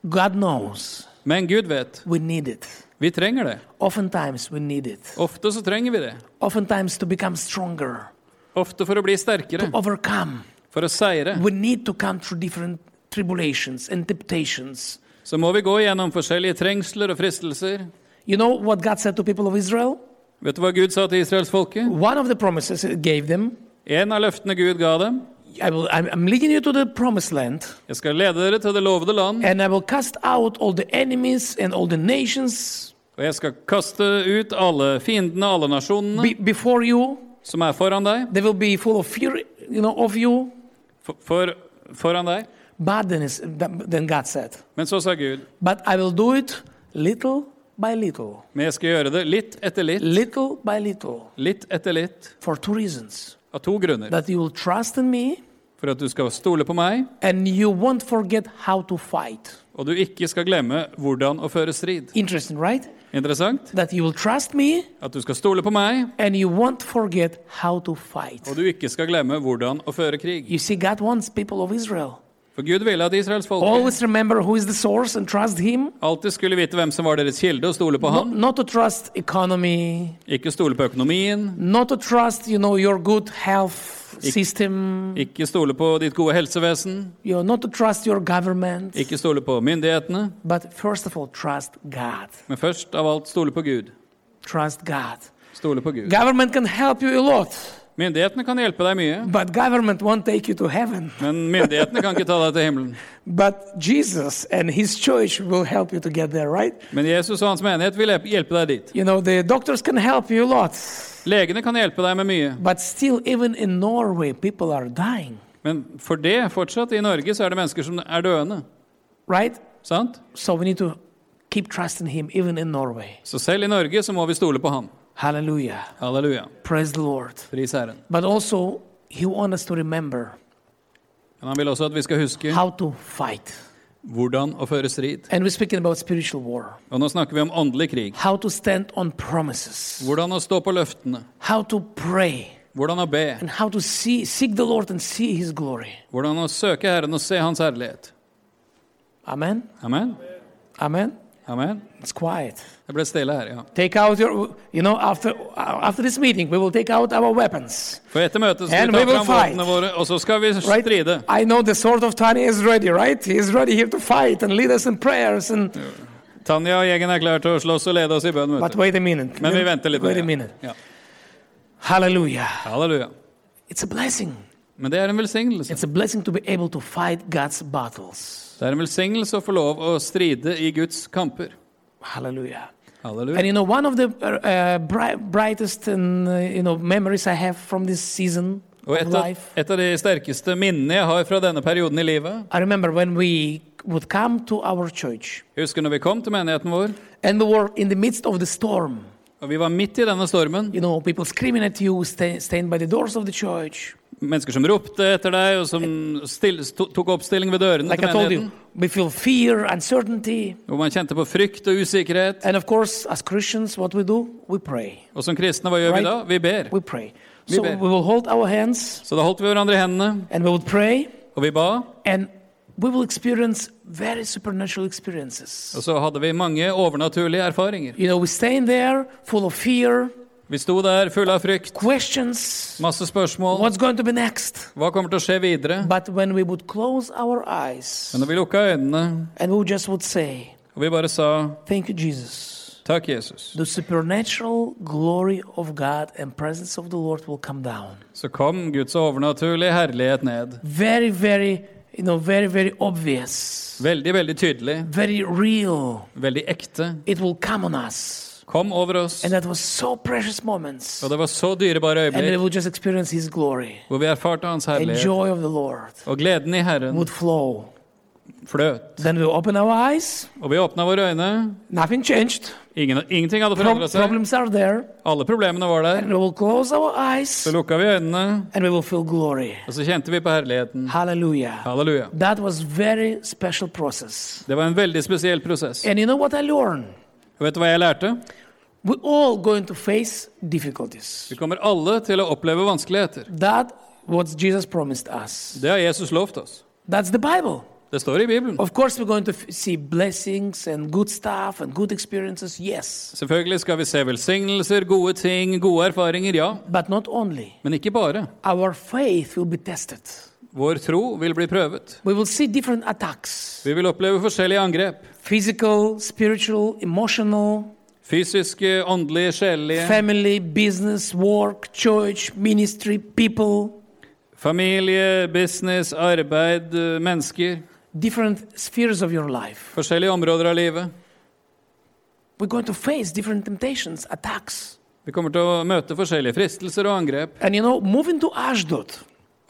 [SPEAKER 1] God knows
[SPEAKER 2] Men Gud vet.
[SPEAKER 1] we need it.
[SPEAKER 2] Vi trenger det.
[SPEAKER 1] Oftentimes we need it.
[SPEAKER 2] Ofte så trenger vi det.
[SPEAKER 1] oftentimes to become stronger,
[SPEAKER 2] Ofte for å bli sterkere,
[SPEAKER 1] overcome.
[SPEAKER 2] for å seire,
[SPEAKER 1] We need to come through different tribulations and temptations.
[SPEAKER 2] så må vi gå gjennom forskjellige trengsler og fristelser.
[SPEAKER 1] You know what God said to people of Israel?
[SPEAKER 2] Vet du hva Gud sa til israelsfolket?
[SPEAKER 1] One of the promises He gave them,
[SPEAKER 2] En av løftene Gud ga dem.
[SPEAKER 1] I will, I'm, I'm leading you to the promised land,
[SPEAKER 2] Jeg skal lede dere til det lovede land,
[SPEAKER 1] and I will cast out all the enemies and all the nations
[SPEAKER 2] og jeg skal kaste ut alle fiendene, alle nasjonene
[SPEAKER 1] be, before you.
[SPEAKER 2] som er foran deg.
[SPEAKER 1] They will be full of fear, you know, of you.
[SPEAKER 2] For, for, foran deg.
[SPEAKER 1] But then, is- then God said,
[SPEAKER 2] Men så sa Gud,
[SPEAKER 1] but I will do it little by little,
[SPEAKER 2] men jeg skal gjøre det litt etter litt,
[SPEAKER 1] little by little,
[SPEAKER 2] litt etter litt,
[SPEAKER 1] for two reasons.
[SPEAKER 2] av to grunner.
[SPEAKER 1] That you will trust in me,
[SPEAKER 2] For at du skal stole på meg,
[SPEAKER 1] and you won't forget how to fight.
[SPEAKER 2] og du ikke skal glemme hvordan å føre strid.
[SPEAKER 1] Interesting, right?
[SPEAKER 2] Interessant?
[SPEAKER 1] That you will trust me
[SPEAKER 2] At du skal stole på meg,
[SPEAKER 1] and you won't forget how to fight.
[SPEAKER 2] og du ikke skal glemme hvordan å føre krig.
[SPEAKER 1] You see, God wants people of Israel.
[SPEAKER 2] For Gud ville at israelsfolket
[SPEAKER 1] Always remember who is the source and trust Him.
[SPEAKER 2] alltid skulle vite hvem som var deres kilde, og stole på
[SPEAKER 1] Not,
[SPEAKER 2] ham.
[SPEAKER 1] not to trust economy,
[SPEAKER 2] Ikke stole på økonomien,
[SPEAKER 1] not to trust, you know, your good health system,
[SPEAKER 2] ikke stole på ditt gode helsevesen,
[SPEAKER 1] you know, not to trust your government.
[SPEAKER 2] ikke stole på myndighetene,
[SPEAKER 1] But first of all, trust God.
[SPEAKER 2] men først av alt stole på Gud.
[SPEAKER 1] Trust God.
[SPEAKER 2] Stole på Gud.
[SPEAKER 1] Government can help you a lot,
[SPEAKER 2] Myndighetene kan hjelpe deg mye,
[SPEAKER 1] but government won't take you to heaven.
[SPEAKER 2] men myndighetene kan ikke ta deg til himmelen.
[SPEAKER 1] But Jesus and his church will help you to get there, right?
[SPEAKER 2] Men Jesus og hans menighet vil hjelpe- hjelpe deg dit.
[SPEAKER 1] You know, the doctors can help you a lot.
[SPEAKER 2] Legene kan hjelpe deg med mye,
[SPEAKER 1] But still, even in Norway, people are dying,
[SPEAKER 2] men for det fortsatt, i Norge så er det mennesker som er døende.
[SPEAKER 1] right?
[SPEAKER 2] Sant?
[SPEAKER 1] So we need to keep trusting Him even in Norway.
[SPEAKER 2] Så selv i Norge så må vi stole på Han.
[SPEAKER 1] Hallelujah.
[SPEAKER 2] Halleluja.
[SPEAKER 1] Praise the Lord.
[SPEAKER 2] Pris Herren.
[SPEAKER 1] But also, He wants us to remember
[SPEAKER 2] Men han vil også at vi skal huske
[SPEAKER 1] how to fight.
[SPEAKER 2] hvordan å føre strid.
[SPEAKER 1] And we're speaking about spiritual war.
[SPEAKER 2] Og nå snakker vi om åndelig krig.
[SPEAKER 1] How to stand on promises.
[SPEAKER 2] Hvordan å stå på løftene.
[SPEAKER 1] How to pray.
[SPEAKER 2] Hvordan å be.
[SPEAKER 1] And how to see, seek the Lord and see His glory.
[SPEAKER 2] Hvordan å søke Herren og se Hans herlighet.
[SPEAKER 1] Amen.
[SPEAKER 2] Amen.
[SPEAKER 1] Amen.
[SPEAKER 2] Amen.
[SPEAKER 1] It's quiet.
[SPEAKER 2] Det ble stille her, ja.
[SPEAKER 1] Take out your, you know, after, after this meeting, we will take out our weapons.
[SPEAKER 2] For etter møtet skal
[SPEAKER 1] And
[SPEAKER 2] vi
[SPEAKER 1] we
[SPEAKER 2] ta
[SPEAKER 1] will
[SPEAKER 2] fram
[SPEAKER 1] fight.
[SPEAKER 2] våpnene våre, og så skal vi
[SPEAKER 1] Right?
[SPEAKER 2] stride.
[SPEAKER 1] I know the sword of Tanya is ready, right? He's ready here to fight and lead us in prayers. And
[SPEAKER 2] Tanja og gjengen er klar til å slåss og lede oss i bønn.
[SPEAKER 1] But
[SPEAKER 2] vet du.
[SPEAKER 1] wait a minute.
[SPEAKER 2] Men vi venter litt.
[SPEAKER 1] Wait a
[SPEAKER 2] med
[SPEAKER 1] minute.
[SPEAKER 2] det. Ja.
[SPEAKER 1] Hallelujah.
[SPEAKER 2] Halleluja.
[SPEAKER 1] It's a blessing.
[SPEAKER 2] Men det er en velsignelse.
[SPEAKER 1] It's a blessing to be able to fight God's battles.
[SPEAKER 2] Det er en velsignelse å få lov å stride i Guds kamper.
[SPEAKER 1] Hallelujah. And
[SPEAKER 2] Halleluja.
[SPEAKER 1] you know, one of the uh, uh, bri- brightest and uh, you know memories I have from this season
[SPEAKER 2] Og
[SPEAKER 1] of
[SPEAKER 2] et av,
[SPEAKER 1] life.
[SPEAKER 2] et av de sterkeste minnene jeg har fra denne perioden i livet
[SPEAKER 1] I remember when we would come to our church
[SPEAKER 2] Jeg husker når vi kom til menigheten vår,
[SPEAKER 1] and we were in the midst of the storm.
[SPEAKER 2] og vi var midt i denne stormen.
[SPEAKER 1] You know, people screaming at you, stay, staying by the doors of the church.
[SPEAKER 2] Mennesker som ropte etter deg, og som still, to- tok oppstilling ved
[SPEAKER 1] Eh.
[SPEAKER 2] dørene
[SPEAKER 1] Like I
[SPEAKER 2] til
[SPEAKER 1] told
[SPEAKER 2] menigheten.
[SPEAKER 1] you, we feel fear, uncertainty,
[SPEAKER 2] Hvor man kjente på frykt og usikkerhet.
[SPEAKER 1] and of course, as Christians, what we do, we pray.
[SPEAKER 2] Og som kristne, hva gjør vi
[SPEAKER 1] Right.
[SPEAKER 2] da? Vi ber.
[SPEAKER 1] We pray.
[SPEAKER 2] We
[SPEAKER 1] So
[SPEAKER 2] pray.
[SPEAKER 1] we will hold our hands
[SPEAKER 2] Så da holdt vi hverandre i hendene,
[SPEAKER 1] and we will pray
[SPEAKER 2] og vi ba.
[SPEAKER 1] and we will experience very supernatural experiences.
[SPEAKER 2] Og så hadde vi mange overnaturlige erfaringer.
[SPEAKER 1] You know, we're staying there full of fear,
[SPEAKER 2] Vi sto der fulle av frykt,
[SPEAKER 1] questions,
[SPEAKER 2] masse spørsmål.
[SPEAKER 1] what's going to be next?
[SPEAKER 2] Hva kommer til å skje videre?
[SPEAKER 1] But when we would close our eyes
[SPEAKER 2] Men når vi lukka øynene,
[SPEAKER 1] and we just would say,
[SPEAKER 2] og vi bare sa
[SPEAKER 1] Thank you, Jesus,
[SPEAKER 2] takk, Jesus,
[SPEAKER 1] the supernatural glory of God and presence of the Lord will come down.
[SPEAKER 2] så kom Guds overnaturlige herlighet ned.
[SPEAKER 1] Very, very, you know, very, very obvious,
[SPEAKER 2] Veldig, veldig tydelig,
[SPEAKER 1] very real.
[SPEAKER 2] veldig ekte.
[SPEAKER 1] It will come on us.
[SPEAKER 2] Kom over oss.
[SPEAKER 1] And that was so precious moments.
[SPEAKER 2] Og det var så dyrebare
[SPEAKER 1] And we
[SPEAKER 2] øyeblikk
[SPEAKER 1] would just experience His glory
[SPEAKER 2] hvor vi erfarte Hans
[SPEAKER 1] and
[SPEAKER 2] herlighet.
[SPEAKER 1] joy of the Lord
[SPEAKER 2] Og gleden i Herren
[SPEAKER 1] would flow.
[SPEAKER 2] fløt.
[SPEAKER 1] Then we open our eyes.
[SPEAKER 2] Og vi åpna våre øyne.
[SPEAKER 1] Nothing changed.
[SPEAKER 2] Ingen, ingenting hadde
[SPEAKER 1] Prob-
[SPEAKER 2] forandra seg.
[SPEAKER 1] problems are there.
[SPEAKER 2] Alle problemene var der.
[SPEAKER 1] And we will close our
[SPEAKER 2] Så
[SPEAKER 1] eyes
[SPEAKER 2] lukka vi øynene,
[SPEAKER 1] and we will feel glory.
[SPEAKER 2] og så kjente vi på herligheten.
[SPEAKER 1] Hallelujah.
[SPEAKER 2] Halleluja.
[SPEAKER 1] That was very special process.
[SPEAKER 2] Det var en veldig spesiell prosess.
[SPEAKER 1] And you know what I learned?
[SPEAKER 2] Og vet du hva jeg lærte?
[SPEAKER 1] We're all going to face difficulties.
[SPEAKER 2] Vi kommer alle til å oppleve vanskeligheter.
[SPEAKER 1] That what Jesus promised us.
[SPEAKER 2] Det har Jesus lovt oss.
[SPEAKER 1] That's the Bible.
[SPEAKER 2] Det står i Bibelen.
[SPEAKER 1] Of course, we're going to f- see blessings and good stuff and good experiences, yes.
[SPEAKER 2] Selvfølgelig skal vi se velsignelser, gode ting, gode erfaringer, ja.
[SPEAKER 1] But not only.
[SPEAKER 2] Men ikke bare.
[SPEAKER 1] Our faith will be tested.
[SPEAKER 2] Vår tro vil bli prøvet.
[SPEAKER 1] We will see different attacks
[SPEAKER 2] Vi vil oppleve forskjellige angrep.
[SPEAKER 1] physical, spiritual, emotional,
[SPEAKER 2] Fysiske, åndelige, sjelelige.
[SPEAKER 1] family, business, work, church, ministry, people,
[SPEAKER 2] Familie, business, arbeid, eh, mennesker.
[SPEAKER 1] different spheres of your life.
[SPEAKER 2] Forskjellige områder av livet.
[SPEAKER 1] We're going to face different temptations, attacks.
[SPEAKER 2] Vi kommer til å møte forskjellige fristelser og angrep.
[SPEAKER 1] And you know, moving to Ashdod,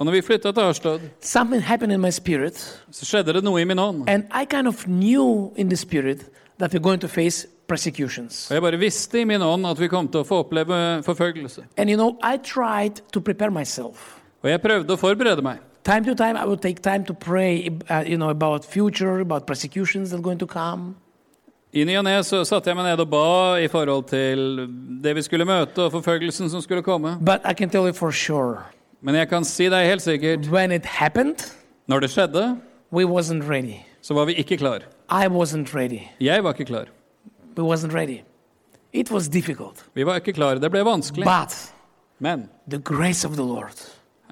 [SPEAKER 2] Og når vi flytta til Arstad,
[SPEAKER 1] something happened in my spirit,
[SPEAKER 2] så skjedde det noe i min ånd.
[SPEAKER 1] and I kind of knew in the spirit that we're going to face persecutions.
[SPEAKER 2] Og jeg bare visste i min ånd at vi kom til å få oppleve forfølgelse.
[SPEAKER 1] And you know, I tried to prepare myself.
[SPEAKER 2] Og jeg prøvde å forberede meg.
[SPEAKER 1] Time to time, I would take time to pray, uh, you know, about future, about persecutions that are going to come.
[SPEAKER 2] I ny og ne så satte jeg meg ned og ba i forhold til det vi skulle møte, og forfølgelsen som skulle komme.
[SPEAKER 1] But I can tell you for sure,
[SPEAKER 2] Men jeg kan si deg helt sikkert
[SPEAKER 1] when it happened,
[SPEAKER 2] når det skjedde,
[SPEAKER 1] we wasn't ready.
[SPEAKER 2] så var vi ikke klar.
[SPEAKER 1] I wasn't ready.
[SPEAKER 2] Jeg var ikke klar.
[SPEAKER 1] We wasn't ready. It was difficult.
[SPEAKER 2] Vi var ikke klar. Det ble vanskelig.
[SPEAKER 1] But
[SPEAKER 2] Men
[SPEAKER 1] the grace of the Lord,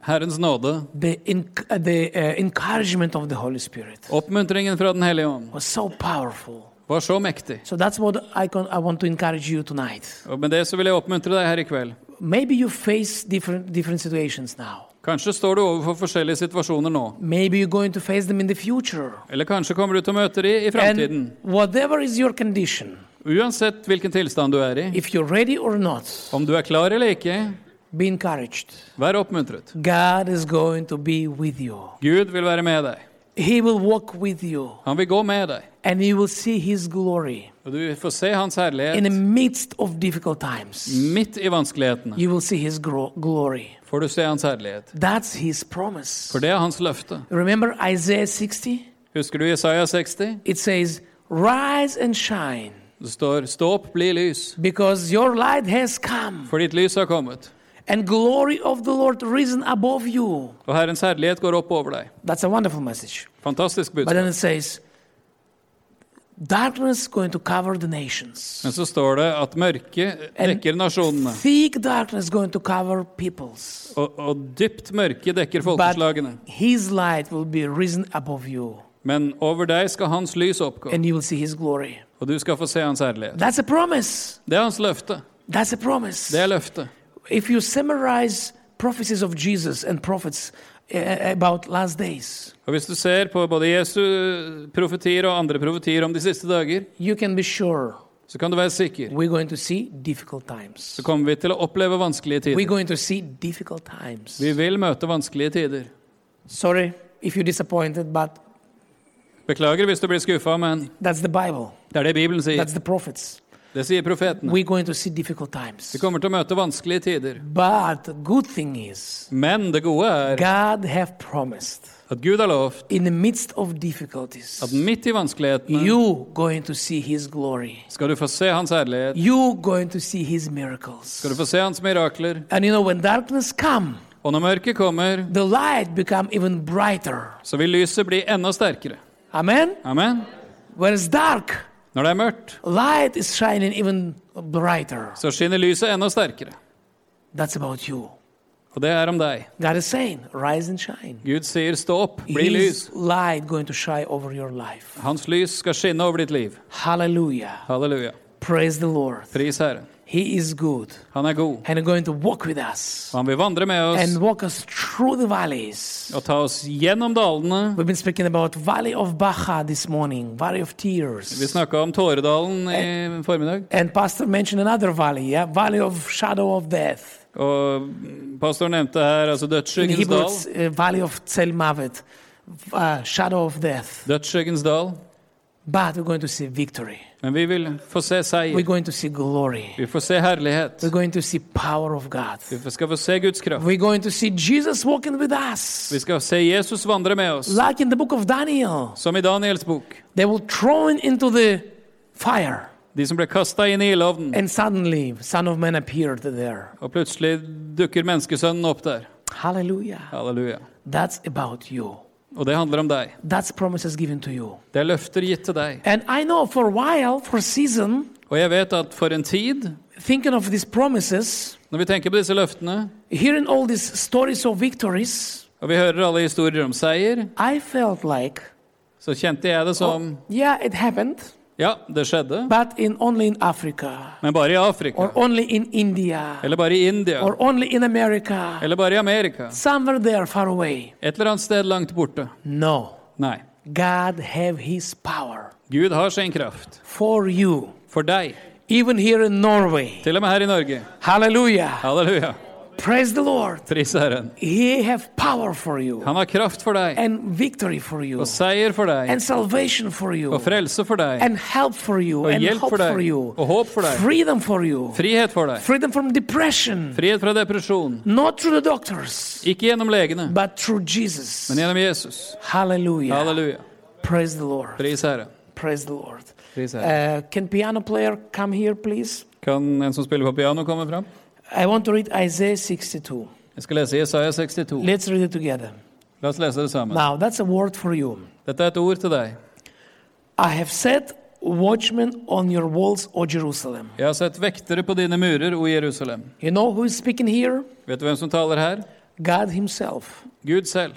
[SPEAKER 2] Herrens nåde,
[SPEAKER 1] the, enc- uh, the uh, encouragement of the Holy Spirit
[SPEAKER 2] oppmuntringen fra Den hellige ånd,
[SPEAKER 1] was so powerful.
[SPEAKER 2] var så mektig.
[SPEAKER 1] So that's what I, con- I want to encourage you tonight.
[SPEAKER 2] Og med det så vil jeg oppmuntre deg her i kveld.
[SPEAKER 1] Maybe you face different, different situations now.
[SPEAKER 2] Kanskje står du overfor forskjellige situasjoner nå.
[SPEAKER 1] Maybe you're going to face them in the future.
[SPEAKER 2] Eller kanskje kommer du til å møte de i framtiden.
[SPEAKER 1] And whatever is your condition,
[SPEAKER 2] Uansett hvilken tilstand du er i,
[SPEAKER 1] if you're ready or not,
[SPEAKER 2] om du er klar eller ikke,
[SPEAKER 1] be encouraged.
[SPEAKER 2] vær oppmuntret.
[SPEAKER 1] God is going to be with you.
[SPEAKER 2] Gud vil være med deg.
[SPEAKER 1] He will walk with you.
[SPEAKER 2] Han vil gå med deg.
[SPEAKER 1] and you will see his glory
[SPEAKER 2] Og du får se Hans
[SPEAKER 1] in the
[SPEAKER 2] herlighet
[SPEAKER 1] midst of difficult times.
[SPEAKER 2] midt i vanskelighetene.
[SPEAKER 1] You will see his gro- glory.
[SPEAKER 2] Får du se Hans herlighet.
[SPEAKER 1] That's his promise.
[SPEAKER 2] For det er hans løfte.
[SPEAKER 1] Remember Isaiah 60?
[SPEAKER 2] Husker du Jesaja 60?
[SPEAKER 1] It says, Rise and shine,
[SPEAKER 2] Det står 'Stå opp, bli lys',
[SPEAKER 1] because your light has come,
[SPEAKER 2] for ditt lys har kommet.
[SPEAKER 1] and glory of the Lord risen above you.
[SPEAKER 2] Og Herrens herlighet går opp over deg.
[SPEAKER 1] That's a wonderful message.
[SPEAKER 2] Fantastisk
[SPEAKER 1] But
[SPEAKER 2] budskap.
[SPEAKER 1] then it says, Darkness going to cover the nations.
[SPEAKER 2] Men så står det at mørket dekker nasjonene,
[SPEAKER 1] Thick darkness going to cover peoples.
[SPEAKER 2] og, og dypt mørke dekker
[SPEAKER 1] But
[SPEAKER 2] folkeslagene.
[SPEAKER 1] his light will be risen above you,
[SPEAKER 2] Men over deg skal hans lys oppgå,
[SPEAKER 1] and you will see his glory.
[SPEAKER 2] og du skal få se hans herlighet.
[SPEAKER 1] That's a promise.
[SPEAKER 2] Det er hans løfte.
[SPEAKER 1] That's a promise.
[SPEAKER 2] Det er løftet.
[SPEAKER 1] If you summarize prophecies of Jesus and prophets uh, about last days,
[SPEAKER 2] Og hvis du ser på både Jesu profetier og andre profetier om de siste dager,
[SPEAKER 1] you can be sure
[SPEAKER 2] så kan du være sikker.
[SPEAKER 1] we're going to see difficult times.
[SPEAKER 2] Så kommer vi til å oppleve vanskelige
[SPEAKER 1] We're
[SPEAKER 2] tider.
[SPEAKER 1] going to see difficult times.
[SPEAKER 2] Vi vil møte vanskelige tider.
[SPEAKER 1] Sorry if you're disappointed, but
[SPEAKER 2] Beklager hvis du blir skuffa, men
[SPEAKER 1] that's the Bible.
[SPEAKER 2] det er det Bibelen sier.
[SPEAKER 1] That's the prophets.
[SPEAKER 2] Det sier profetene.
[SPEAKER 1] We're going to see difficult times.
[SPEAKER 2] Vi kommer til å møte vanskelige tider.
[SPEAKER 1] But the good thing is,
[SPEAKER 2] Men det gode er
[SPEAKER 1] God have promised
[SPEAKER 2] at Gud har lovt
[SPEAKER 1] in the midst of difficulties,
[SPEAKER 2] at midt i vanskelighetene
[SPEAKER 1] you going to see His glory.
[SPEAKER 2] skal du få se Hans herlighet,
[SPEAKER 1] You going to see His miracles.
[SPEAKER 2] skal du få se Hans mirakler.
[SPEAKER 1] And you know, when darkness come,
[SPEAKER 2] Og når mørket kommer,
[SPEAKER 1] the light become even brighter.
[SPEAKER 2] så vil lyset bli enda sterkere.
[SPEAKER 1] Amen.
[SPEAKER 2] Amen.
[SPEAKER 1] When it's dark,
[SPEAKER 2] Når det er mørkt,
[SPEAKER 1] light is shining even brighter.
[SPEAKER 2] så skinner lyset enda sterkere.
[SPEAKER 1] That's about you.
[SPEAKER 2] Og det er om deg.
[SPEAKER 1] God is saying, rise and shine.
[SPEAKER 2] Gud sier stå opp, bli lys.
[SPEAKER 1] His light going to shine over your life.
[SPEAKER 2] Hans lys skal skinne over ditt liv.
[SPEAKER 1] Hallelujah.
[SPEAKER 2] Halleluja.
[SPEAKER 1] Praise the Lord.
[SPEAKER 2] Pris Herren.
[SPEAKER 1] He is good
[SPEAKER 2] Han er god.
[SPEAKER 1] and going to walk with us
[SPEAKER 2] Og han vil vandre med oss
[SPEAKER 1] and walk us through the valleys.
[SPEAKER 2] og ta oss gjennom dalene.
[SPEAKER 1] We've been speaking about Valley of Baja this morning, Valley of
[SPEAKER 2] Vi
[SPEAKER 1] Tears.
[SPEAKER 2] snakka om Tåredalen i formiddag.
[SPEAKER 1] And Pastor mentioned another valley, yeah? Valley of Shadow of Death.
[SPEAKER 2] Og pastoren nevnte her altså
[SPEAKER 1] In
[SPEAKER 2] Dødsskyggens
[SPEAKER 1] Hebrew,
[SPEAKER 2] dal.
[SPEAKER 1] it's, uh, Valley of Tzel Mavet, uh, Shadow of Death.
[SPEAKER 2] Dødsskyggens dal.
[SPEAKER 1] But we're going to see victory.
[SPEAKER 2] Men vi vil få se
[SPEAKER 1] We're
[SPEAKER 2] seier.
[SPEAKER 1] going to see glory.
[SPEAKER 2] Vi får se herlighet.
[SPEAKER 1] We're going to see power of God.
[SPEAKER 2] Vi skal få se Guds kraft.
[SPEAKER 1] We're going to see Jesus walking with us.
[SPEAKER 2] Vi skal se Jesus vandre med oss.
[SPEAKER 1] Like in the book of Daniel,
[SPEAKER 2] Som i Daniels bok.
[SPEAKER 1] they will throw him into the fire.
[SPEAKER 2] De som ble kasta inn i ildovnen.
[SPEAKER 1] And suddenly, Son of Man appeared there.
[SPEAKER 2] Og plutselig dukker menneskesønnen opp der.
[SPEAKER 1] Hallelujah.
[SPEAKER 2] Halleluja.
[SPEAKER 1] That's about you.
[SPEAKER 2] Og det handler om deg.
[SPEAKER 1] That's promises given to you.
[SPEAKER 2] Det er løfter gitt til deg.
[SPEAKER 1] And I know for a while, for a season,
[SPEAKER 2] Og jeg vet at for en tid,
[SPEAKER 1] thinking of these promises,
[SPEAKER 2] når vi tenker på disse løftene,
[SPEAKER 1] hearing all these stories of victories,
[SPEAKER 2] og vi hører alle historier om seier,
[SPEAKER 1] I felt like,
[SPEAKER 2] så kjente jeg det som
[SPEAKER 1] yeah, it happened,
[SPEAKER 2] Ja, det skjedde,
[SPEAKER 1] but in only in Africa,
[SPEAKER 2] men bare i Afrika.
[SPEAKER 1] or only in India,
[SPEAKER 2] Eller bare i India.
[SPEAKER 1] or only in America,
[SPEAKER 2] Eller bare i Amerika.
[SPEAKER 1] somewhere there far away.
[SPEAKER 2] Et eller annet sted langt borte.
[SPEAKER 1] No.
[SPEAKER 2] Nei.
[SPEAKER 1] God have his power
[SPEAKER 2] Gud har sin kraft.
[SPEAKER 1] for you,
[SPEAKER 2] For deg.
[SPEAKER 1] even here in Norway.
[SPEAKER 2] Til og med her i Norge.
[SPEAKER 1] Hallelujah.
[SPEAKER 2] Halleluja.
[SPEAKER 1] Praise the Lord.
[SPEAKER 2] Pris Herren.
[SPEAKER 1] He have power for you
[SPEAKER 2] Han har kraft for deg.
[SPEAKER 1] and victory for you
[SPEAKER 2] Og seier for deg.
[SPEAKER 1] and salvation for you
[SPEAKER 2] Og frelse for deg.
[SPEAKER 1] and help for you
[SPEAKER 2] Og
[SPEAKER 1] and
[SPEAKER 2] hjelp
[SPEAKER 1] hope
[SPEAKER 2] for
[SPEAKER 1] for
[SPEAKER 2] deg.
[SPEAKER 1] you.
[SPEAKER 2] Og håp for deg.
[SPEAKER 1] Freedom for you.
[SPEAKER 2] Frihet for deg.
[SPEAKER 1] Freedom from depression.
[SPEAKER 2] Frihet fra depresjon.
[SPEAKER 1] Not through the doctors,
[SPEAKER 2] Ikke gjennom legene,
[SPEAKER 1] but through Jesus.
[SPEAKER 2] men gjennom Jesus.
[SPEAKER 1] Hallelujah.
[SPEAKER 2] Halleluja.
[SPEAKER 1] Praise the Lord.
[SPEAKER 2] Pris Herren.
[SPEAKER 1] Praise the Lord.
[SPEAKER 2] Pris Herren.
[SPEAKER 1] Uh, can piano player come here, please?
[SPEAKER 2] Kan en som spiller på piano, komme fram?
[SPEAKER 1] I want to read Isaiah 62.
[SPEAKER 2] Jeg skal lese Jesaja 62.
[SPEAKER 1] Let's read it together.
[SPEAKER 2] La oss lese det sammen.
[SPEAKER 1] Now, that's a word for you.
[SPEAKER 2] Dette er et ord til deg.
[SPEAKER 1] I have set watchmen on your walls, O Jerusalem.
[SPEAKER 2] Jeg har sett vektere på dine murer, o Jerusalem.
[SPEAKER 1] You know who is speaking here?
[SPEAKER 2] Vet du hvem som taler her?
[SPEAKER 1] God Himself.
[SPEAKER 2] Gud selv.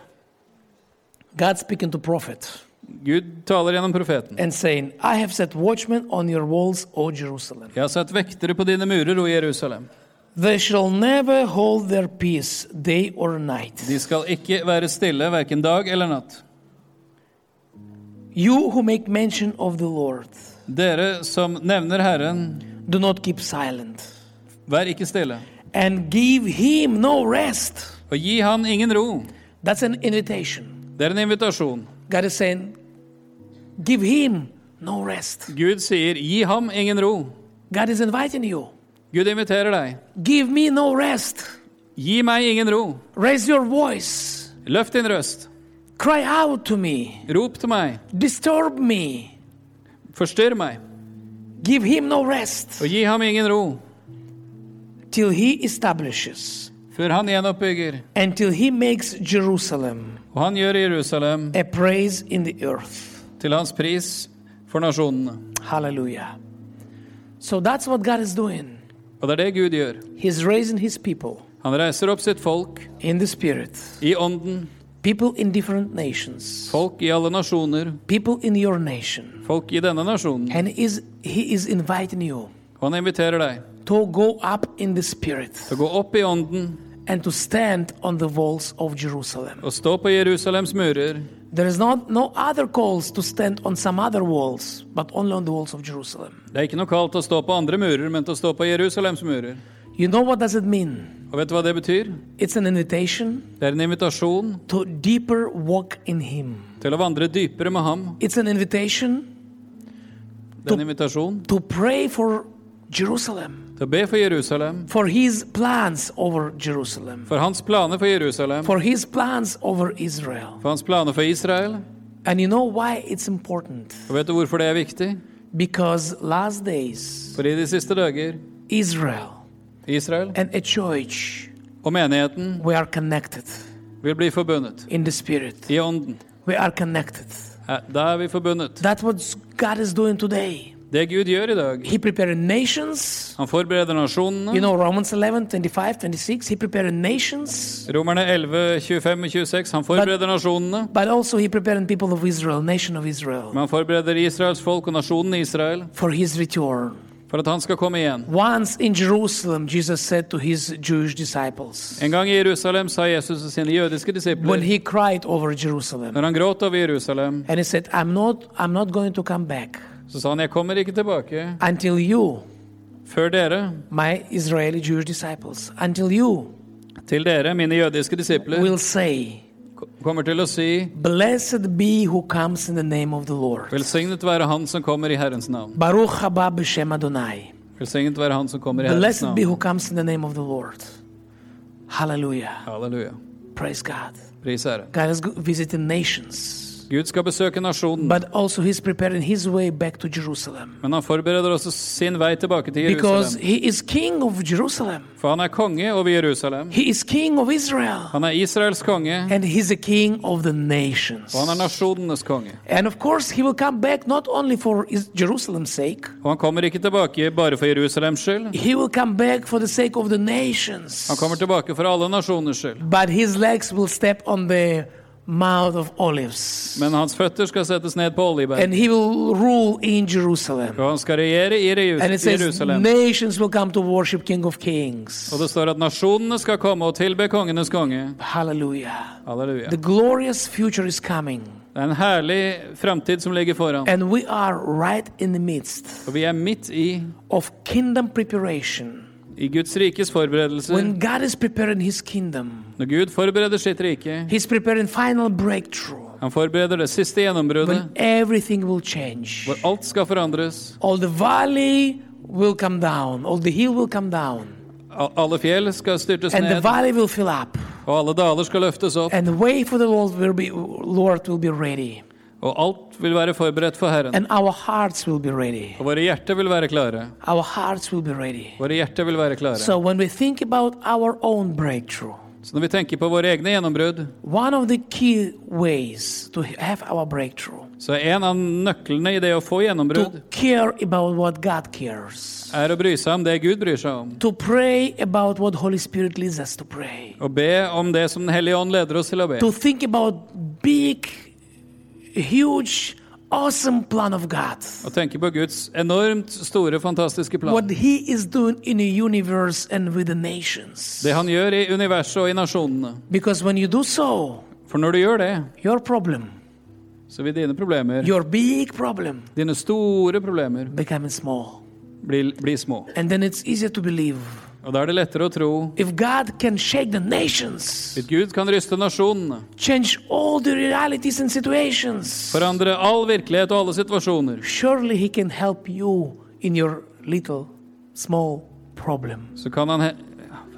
[SPEAKER 1] God speaking to prophet
[SPEAKER 2] Gud taler gjennom profeten.
[SPEAKER 1] and saying, I have set watchmen on your walls, O Jerusalem.
[SPEAKER 2] Jeg har sett vektere på dine murer, o Jerusalem.
[SPEAKER 1] They shall never hold their peace day or night.
[SPEAKER 2] De skal ikke være stille, hverken dag eller natt.
[SPEAKER 1] You who make mention of the Lord,
[SPEAKER 2] Dere som nevner Herren,
[SPEAKER 1] do not keep silent
[SPEAKER 2] vær ikke stille.
[SPEAKER 1] and give Him no rest.
[SPEAKER 2] Og gi han ingen ro.
[SPEAKER 1] That's an invitation.
[SPEAKER 2] Det er en invitasjon.
[SPEAKER 1] God is saying, give Him no rest.
[SPEAKER 2] Gud sier 'gi ham ingen ro'.
[SPEAKER 1] God is inviting you.
[SPEAKER 2] Gud inviterer deg.
[SPEAKER 1] Give me no rest.
[SPEAKER 2] Gi meg ingen ro.
[SPEAKER 1] Raise your voice.
[SPEAKER 2] Løft din røst.
[SPEAKER 1] Cry out to me.
[SPEAKER 2] Rop til meg.
[SPEAKER 1] Disturb me.
[SPEAKER 2] Forstyrr meg.
[SPEAKER 1] Give him no rest
[SPEAKER 2] Og gi ham ingen ro.
[SPEAKER 1] till he establishes,
[SPEAKER 2] Før han gjenoppbygger.
[SPEAKER 1] until he makes Jerusalem
[SPEAKER 2] Og han gjør Jerusalem
[SPEAKER 1] a praise in the earth.
[SPEAKER 2] til hans pris for nasjonene.
[SPEAKER 1] Hallelujah. So that's what God is doing.
[SPEAKER 2] Og det er det Gud gjør.
[SPEAKER 1] He's raising his people
[SPEAKER 2] Han reiser opp sitt folk
[SPEAKER 1] in the spirit,
[SPEAKER 2] i ånden.
[SPEAKER 1] people in different nations,
[SPEAKER 2] Folk i alle nasjoner.
[SPEAKER 1] people in your nation.
[SPEAKER 2] Folk i denne nasjonen.
[SPEAKER 1] And is, he is inviting you
[SPEAKER 2] Og han inviterer deg
[SPEAKER 1] to go up in the spirit
[SPEAKER 2] til å gå opp i ånden
[SPEAKER 1] and to stand on the walls of Jerusalem.
[SPEAKER 2] og stå på Jerusalems murer.
[SPEAKER 1] There is not no other calls to stand on some other walls, but only on the walls of Jerusalem.
[SPEAKER 2] Det er ikke noe kaldt å stå på andre murer, men til å stå på Jerusalems murer.
[SPEAKER 1] You know what does it mean?
[SPEAKER 2] Og vet du hva det betyr?
[SPEAKER 1] It's an invitation
[SPEAKER 2] Det er en invitasjon
[SPEAKER 1] to deeper walk in him.
[SPEAKER 2] til å vandre dypere med ham.
[SPEAKER 1] It's an invitation
[SPEAKER 2] Det er en invitasjon
[SPEAKER 1] to pray for Jerusalem,
[SPEAKER 2] til å be for Jerusalem,
[SPEAKER 1] for his plans over Jerusalem,
[SPEAKER 2] for hans planer for Jerusalem,
[SPEAKER 1] for his plans over Israel.
[SPEAKER 2] for hans planer for Israel.
[SPEAKER 1] And you know why it's important?
[SPEAKER 2] Og vet du hvorfor det er viktig?
[SPEAKER 1] Because last days
[SPEAKER 2] For i de siste dager,
[SPEAKER 1] Israel
[SPEAKER 2] Israel
[SPEAKER 1] and a church
[SPEAKER 2] og menigheten
[SPEAKER 1] we are connected
[SPEAKER 2] vil bli forbundet.
[SPEAKER 1] in the spirit.
[SPEAKER 2] I ånden.
[SPEAKER 1] We are connected.
[SPEAKER 2] Eh, Da er vi forbundet.
[SPEAKER 1] That's what God is doing today.
[SPEAKER 2] Det Gud gjør i dag
[SPEAKER 1] He prepared nations.
[SPEAKER 2] Han forbereder
[SPEAKER 1] You
[SPEAKER 2] nasjonene.
[SPEAKER 1] know, Romans 11, 25, 26. He prepared nations,
[SPEAKER 2] Romerne 11, 25 og 26. Han forbereder nasjonene.
[SPEAKER 1] but also He prepared people of Israel, nation of Israel,
[SPEAKER 2] Men han forbereder Israels folk og nasjonen Israel
[SPEAKER 1] for His return.
[SPEAKER 2] for at han skal komme igjen.
[SPEAKER 1] Once in Jerusalem, Jesus said to His Jewish disciples,
[SPEAKER 2] En gang i Jerusalem sa Jesus til sine jødiske disipler
[SPEAKER 1] when He cried over Jerusalem,
[SPEAKER 2] Når han gråt over Jerusalem,
[SPEAKER 1] and He said, I'm not, I'm not going to come back
[SPEAKER 2] så sa han jeg kommer ikke tilbake
[SPEAKER 1] until you,
[SPEAKER 2] før dere,
[SPEAKER 1] my Israeli Jewish disciples, until you
[SPEAKER 2] til dere, mine jødiske disipler,
[SPEAKER 1] will say,
[SPEAKER 2] ko- kommer til å si
[SPEAKER 1] Blessed be who comes in the name of the Lord.
[SPEAKER 2] Velsignet være Han som kommer i Herrens navn.
[SPEAKER 1] Baruch haba b'shem Adonai.
[SPEAKER 2] Velsignet være Han som kommer i Herrens
[SPEAKER 1] Blessed be
[SPEAKER 2] navn.
[SPEAKER 1] who comes in the name of the Lord. Hallelujah.
[SPEAKER 2] Halleluja.
[SPEAKER 1] Praise God.
[SPEAKER 2] Pris Herren.
[SPEAKER 1] God is visiting nations,
[SPEAKER 2] Gud skal besøke nasjonen,
[SPEAKER 1] but also He's preparing His way back to Jerusalem
[SPEAKER 2] men han forbereder også sin vei tilbake til
[SPEAKER 1] because
[SPEAKER 2] Jerusalem.
[SPEAKER 1] He is King of Jerusalem.
[SPEAKER 2] For han er konge over Jerusalem.
[SPEAKER 1] He is King of Israel,
[SPEAKER 2] Han er Israels konge,
[SPEAKER 1] and He's a King of the nations.
[SPEAKER 2] og han er nasjonenes konge.
[SPEAKER 1] And of course, He will come back not only for Is- Jerusalem's sake,
[SPEAKER 2] Og han kommer ikke tilbake bare for Jerusalems skyld.
[SPEAKER 1] He will come back for the sake of the nations.
[SPEAKER 2] Han kommer tilbake for alle nasjoners skyld.
[SPEAKER 1] But his legs will step on the mouth of olives.
[SPEAKER 2] Men hans føtter skal settes ned på oljeberg.
[SPEAKER 1] And he will rule in Jerusalem.
[SPEAKER 2] Og han skal regjere i Reus-
[SPEAKER 1] And it says,
[SPEAKER 2] Jerusalem.
[SPEAKER 1] nations will come to worship King of Kings.
[SPEAKER 2] Og det står at nasjonene skal komme og tilbe kongenes konge.
[SPEAKER 1] Hallelujah.
[SPEAKER 2] Halleluja.
[SPEAKER 1] The glorious future is coming.
[SPEAKER 2] Det er en herlig framtid som ligger foran.
[SPEAKER 1] And we are right in the midst
[SPEAKER 2] Og vi er midt i,
[SPEAKER 1] of kingdom preparation.
[SPEAKER 2] i Guds rikes forberedelser.
[SPEAKER 1] When God is preparing his kingdom,
[SPEAKER 2] Når Gud forbereder sitt rike,
[SPEAKER 1] he's preparing final breakthrough.
[SPEAKER 2] han forbereder det siste gjennombruddet,
[SPEAKER 1] When everything will change.
[SPEAKER 2] hvor alt skal forandres.
[SPEAKER 1] All the valley will come down. All the hill will come down.
[SPEAKER 2] Al- Alle fjell skal styrtes
[SPEAKER 1] and the
[SPEAKER 2] ned,
[SPEAKER 1] valley will fill up
[SPEAKER 2] og alle daler skal løftes opp.
[SPEAKER 1] and the way for the lord will be lord will be ready
[SPEAKER 2] Og alt vil være forberedt for Herren.
[SPEAKER 1] and our hearts will be ready
[SPEAKER 2] Og våre hjerter vil være klare.
[SPEAKER 1] our hearts will be ready
[SPEAKER 2] Våre hjerter vil være klare.
[SPEAKER 1] so when we think about our own breakthrough
[SPEAKER 2] Så når vi tenker på våre egne gjennombrudd,
[SPEAKER 1] one of the key ways to have our breakthrough
[SPEAKER 2] så er en av nøklene i det å få gjennombrudd,
[SPEAKER 1] to care about what god cares
[SPEAKER 2] er å bry seg om det Gud bryr seg om.
[SPEAKER 1] to pray about what holy spirit leads us to pray
[SPEAKER 2] Og be om det som Den hellige ånd leder oss til å be.
[SPEAKER 1] to think about big huge awesome plan of god
[SPEAKER 2] Og tenke på Guds enormt store, fantastiske plan.
[SPEAKER 1] what he is doing in the universe and with the nations
[SPEAKER 2] Det han gjør i universet og i nasjonene.
[SPEAKER 1] Because when you do so,
[SPEAKER 2] For når du gjør det,
[SPEAKER 1] your problem,
[SPEAKER 2] så vil dine problemer,
[SPEAKER 1] your big problem,
[SPEAKER 2] dine store problemer,
[SPEAKER 1] becoming small.
[SPEAKER 2] bli, bli små.
[SPEAKER 1] And then it's easier to believe.
[SPEAKER 2] Og da er det lettere å tro.
[SPEAKER 1] If God can shake the nations,
[SPEAKER 2] At Gud kan ryste nasjonene,
[SPEAKER 1] change all the realities and situations,
[SPEAKER 2] forandre all virkelighet og alle situasjoner,
[SPEAKER 1] surely He can help you in your little, small problems.
[SPEAKER 2] så kan han he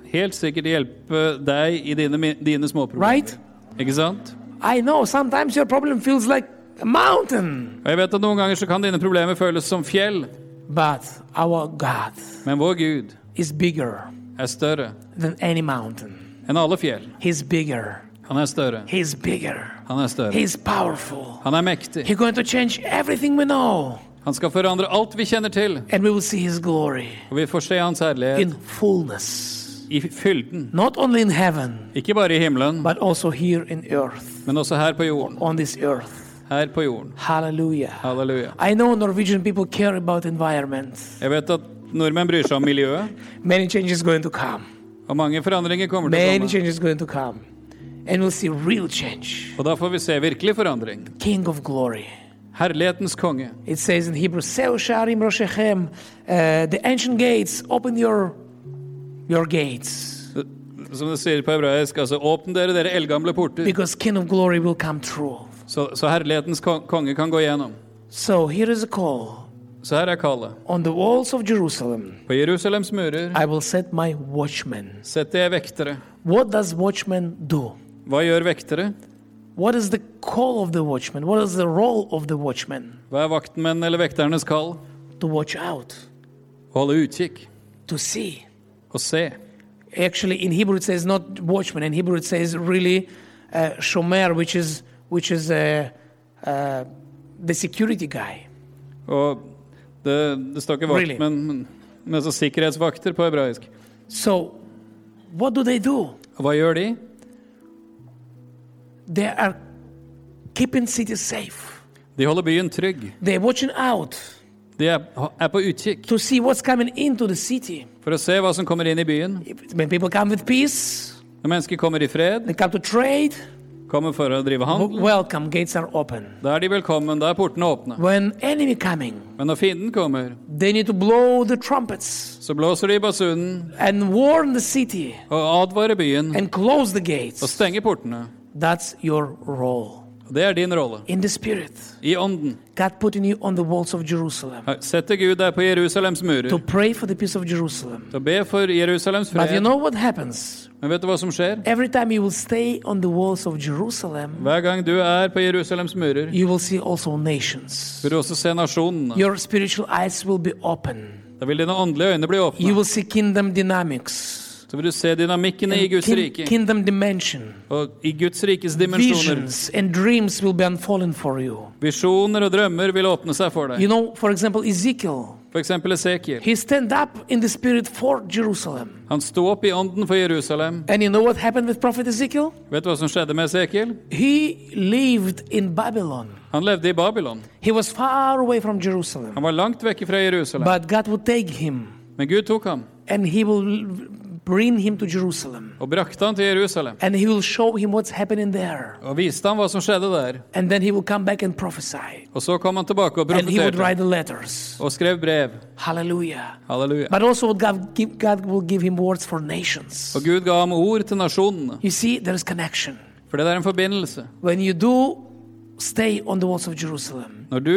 [SPEAKER 2] helt sikkert hjelpe deg i dine, mi- dine småproblemer.
[SPEAKER 1] Right?
[SPEAKER 2] Ikke sant?
[SPEAKER 1] I know sometimes your problem feels like a mountain,
[SPEAKER 2] Og jeg vet at noen ganger så kan dine problemer føles som fjell,
[SPEAKER 1] but our God
[SPEAKER 2] men vår Gud
[SPEAKER 1] is bigger
[SPEAKER 2] er større
[SPEAKER 1] than any mountain.
[SPEAKER 2] enn alle fjell.
[SPEAKER 1] He's bigger.
[SPEAKER 2] Han er større.
[SPEAKER 1] He's bigger.
[SPEAKER 2] Han er større.
[SPEAKER 1] He's powerful.
[SPEAKER 2] Han er mektig.
[SPEAKER 1] He's going to change everything we know,
[SPEAKER 2] Han skal forandre alt vi kjenner til,
[SPEAKER 1] and we will see His glory
[SPEAKER 2] og vi får se hans herlighet
[SPEAKER 1] in fullness,
[SPEAKER 2] i fylden.
[SPEAKER 1] not only in heaven,
[SPEAKER 2] Ikke bare i himmelen,
[SPEAKER 1] but also here in earth,
[SPEAKER 2] men også her på jorden.
[SPEAKER 1] on this earth.
[SPEAKER 2] Her på jorden.
[SPEAKER 1] Hallelujah.
[SPEAKER 2] Halleluja.
[SPEAKER 1] I know Norwegian people care about environment.
[SPEAKER 2] Jeg vet at nordmenn bryr seg om miljøet,
[SPEAKER 1] Many changes going to come.
[SPEAKER 2] og mange forandringer kommer til å
[SPEAKER 1] Many
[SPEAKER 2] komme.
[SPEAKER 1] changes going to come. And we'll see real change.
[SPEAKER 2] Og da får vi se virkelig forandring.
[SPEAKER 1] King of glory.
[SPEAKER 2] Herlighetens konge.
[SPEAKER 1] It says in Hebrew, "Zeu Sharim Roshechem, uh, the ancient gates, open your your gates,
[SPEAKER 2] Som det sier på hebraisk, altså åpne dere, dere eldgamle porter,
[SPEAKER 1] because King of Glory will come true."
[SPEAKER 2] så, så herlighetens kon- konge kan gå gjennom.
[SPEAKER 1] So here is a call:
[SPEAKER 2] Så her er kallet.
[SPEAKER 1] on the walls of Jerusalem,
[SPEAKER 2] På Jerusalems murer
[SPEAKER 1] I will set my watchmen.
[SPEAKER 2] setter jeg vektere.
[SPEAKER 1] What does watchman do?
[SPEAKER 2] Hva gjør vektere?
[SPEAKER 1] What is the call of the watchman? What is the role of the watchman?
[SPEAKER 2] Hva er vaktmenn eller vekternes kall?
[SPEAKER 1] To watch out,
[SPEAKER 2] Holde utkikk
[SPEAKER 1] to see.
[SPEAKER 2] og se.
[SPEAKER 1] Actually, in Hebrew it says not watchman. In Hebrew it says really uh, shomer, which is which is uh, uh, the security guy.
[SPEAKER 2] Og det, det står ikke
[SPEAKER 1] Really?
[SPEAKER 2] vaktmenn, men, men altså sikkerhetsvakter på hebraisk.
[SPEAKER 1] So, what do they do?
[SPEAKER 2] Og hva gjør de?
[SPEAKER 1] They are keeping cities safe.
[SPEAKER 2] De holder byen trygg.
[SPEAKER 1] They're watching out
[SPEAKER 2] De er, er på utkikk
[SPEAKER 1] to see what's coming into the city.
[SPEAKER 2] for å se hva som kommer inn i byen.
[SPEAKER 1] If- When people come with peace,
[SPEAKER 2] Når mennesker kommer i fred,
[SPEAKER 1] they come to trade.
[SPEAKER 2] kommer for å drive
[SPEAKER 1] w-
[SPEAKER 2] handel,
[SPEAKER 1] Welcome, gates are open.
[SPEAKER 2] da er de velkommen, da er portene åpne.
[SPEAKER 1] When enemy coming,
[SPEAKER 2] Men når fienden kommer,
[SPEAKER 1] they need to blow the trumpets
[SPEAKER 2] så blåser de i basunen
[SPEAKER 1] and warn the city
[SPEAKER 2] og advarer byen
[SPEAKER 1] and close the
[SPEAKER 2] og
[SPEAKER 1] gates.
[SPEAKER 2] stenger portene.
[SPEAKER 1] That's your role.
[SPEAKER 2] Og Det er din rolle.
[SPEAKER 1] In the spirit,
[SPEAKER 2] I ånden
[SPEAKER 1] God putting you on the walls of Jerusalem
[SPEAKER 2] setter Gud deg på Jerusalems murer
[SPEAKER 1] to pray for the peace of Jerusalem.
[SPEAKER 2] til å be for Jerusalems
[SPEAKER 1] But you
[SPEAKER 2] fred.
[SPEAKER 1] know what happens
[SPEAKER 2] Men vet du hva som skjer?
[SPEAKER 1] Every time you will stay on the walls of Jerusalem,
[SPEAKER 2] Hver gang du er på Jerusalems murer,
[SPEAKER 1] you will see also nations.
[SPEAKER 2] vil du også se nasjonene.
[SPEAKER 1] Your spiritual eyes will be open.
[SPEAKER 2] Da vil dine åndelige øyne bli
[SPEAKER 1] You
[SPEAKER 2] åpne.
[SPEAKER 1] will see kingdom dynamics,
[SPEAKER 2] Så vil du se dynamikkene i Guds
[SPEAKER 1] kin-
[SPEAKER 2] rike
[SPEAKER 1] kingdom dimension.
[SPEAKER 2] og i Guds rikes dimensjoner.
[SPEAKER 1] Visions and dreams will be unfolding for you.
[SPEAKER 2] Visjoner og drømmer vil åpne seg for
[SPEAKER 1] You
[SPEAKER 2] deg.
[SPEAKER 1] know, for example, Ezekiel,
[SPEAKER 2] For eksempel Esekiel.
[SPEAKER 1] he stand up in the spirit for Jerusalem.
[SPEAKER 2] Han sto opp i ånden for Jerusalem.
[SPEAKER 1] And you know what happened with prophet Ezekiel?
[SPEAKER 2] Vet du hva som skjedde med Esekiel?
[SPEAKER 1] He lived in Babylon.
[SPEAKER 2] Han levde i Babylon.
[SPEAKER 1] He was far away from Jerusalem.
[SPEAKER 2] Han var langt vekk fra Jerusalem.
[SPEAKER 1] But God would take him
[SPEAKER 2] Men Gud tok ham
[SPEAKER 1] and he will bring him to Jerusalem.
[SPEAKER 2] og brakte ham til Jerusalem.
[SPEAKER 1] and he will show him what's happening there
[SPEAKER 2] Og viste ham hva som skjedde der.
[SPEAKER 1] and then he will come back and prophesy
[SPEAKER 2] Og så kom han tilbake og
[SPEAKER 1] and he would
[SPEAKER 2] profeterte
[SPEAKER 1] write the letters
[SPEAKER 2] og skrev brev.
[SPEAKER 1] hallelujah
[SPEAKER 2] Halleluja.
[SPEAKER 1] but also god, give, god will give him words for nations
[SPEAKER 2] Og Gud ga ham ord til nasjonene.
[SPEAKER 1] you see there is connection
[SPEAKER 2] For det er en forbindelse.
[SPEAKER 1] when you do stay on the walls of jerusalem
[SPEAKER 2] Når du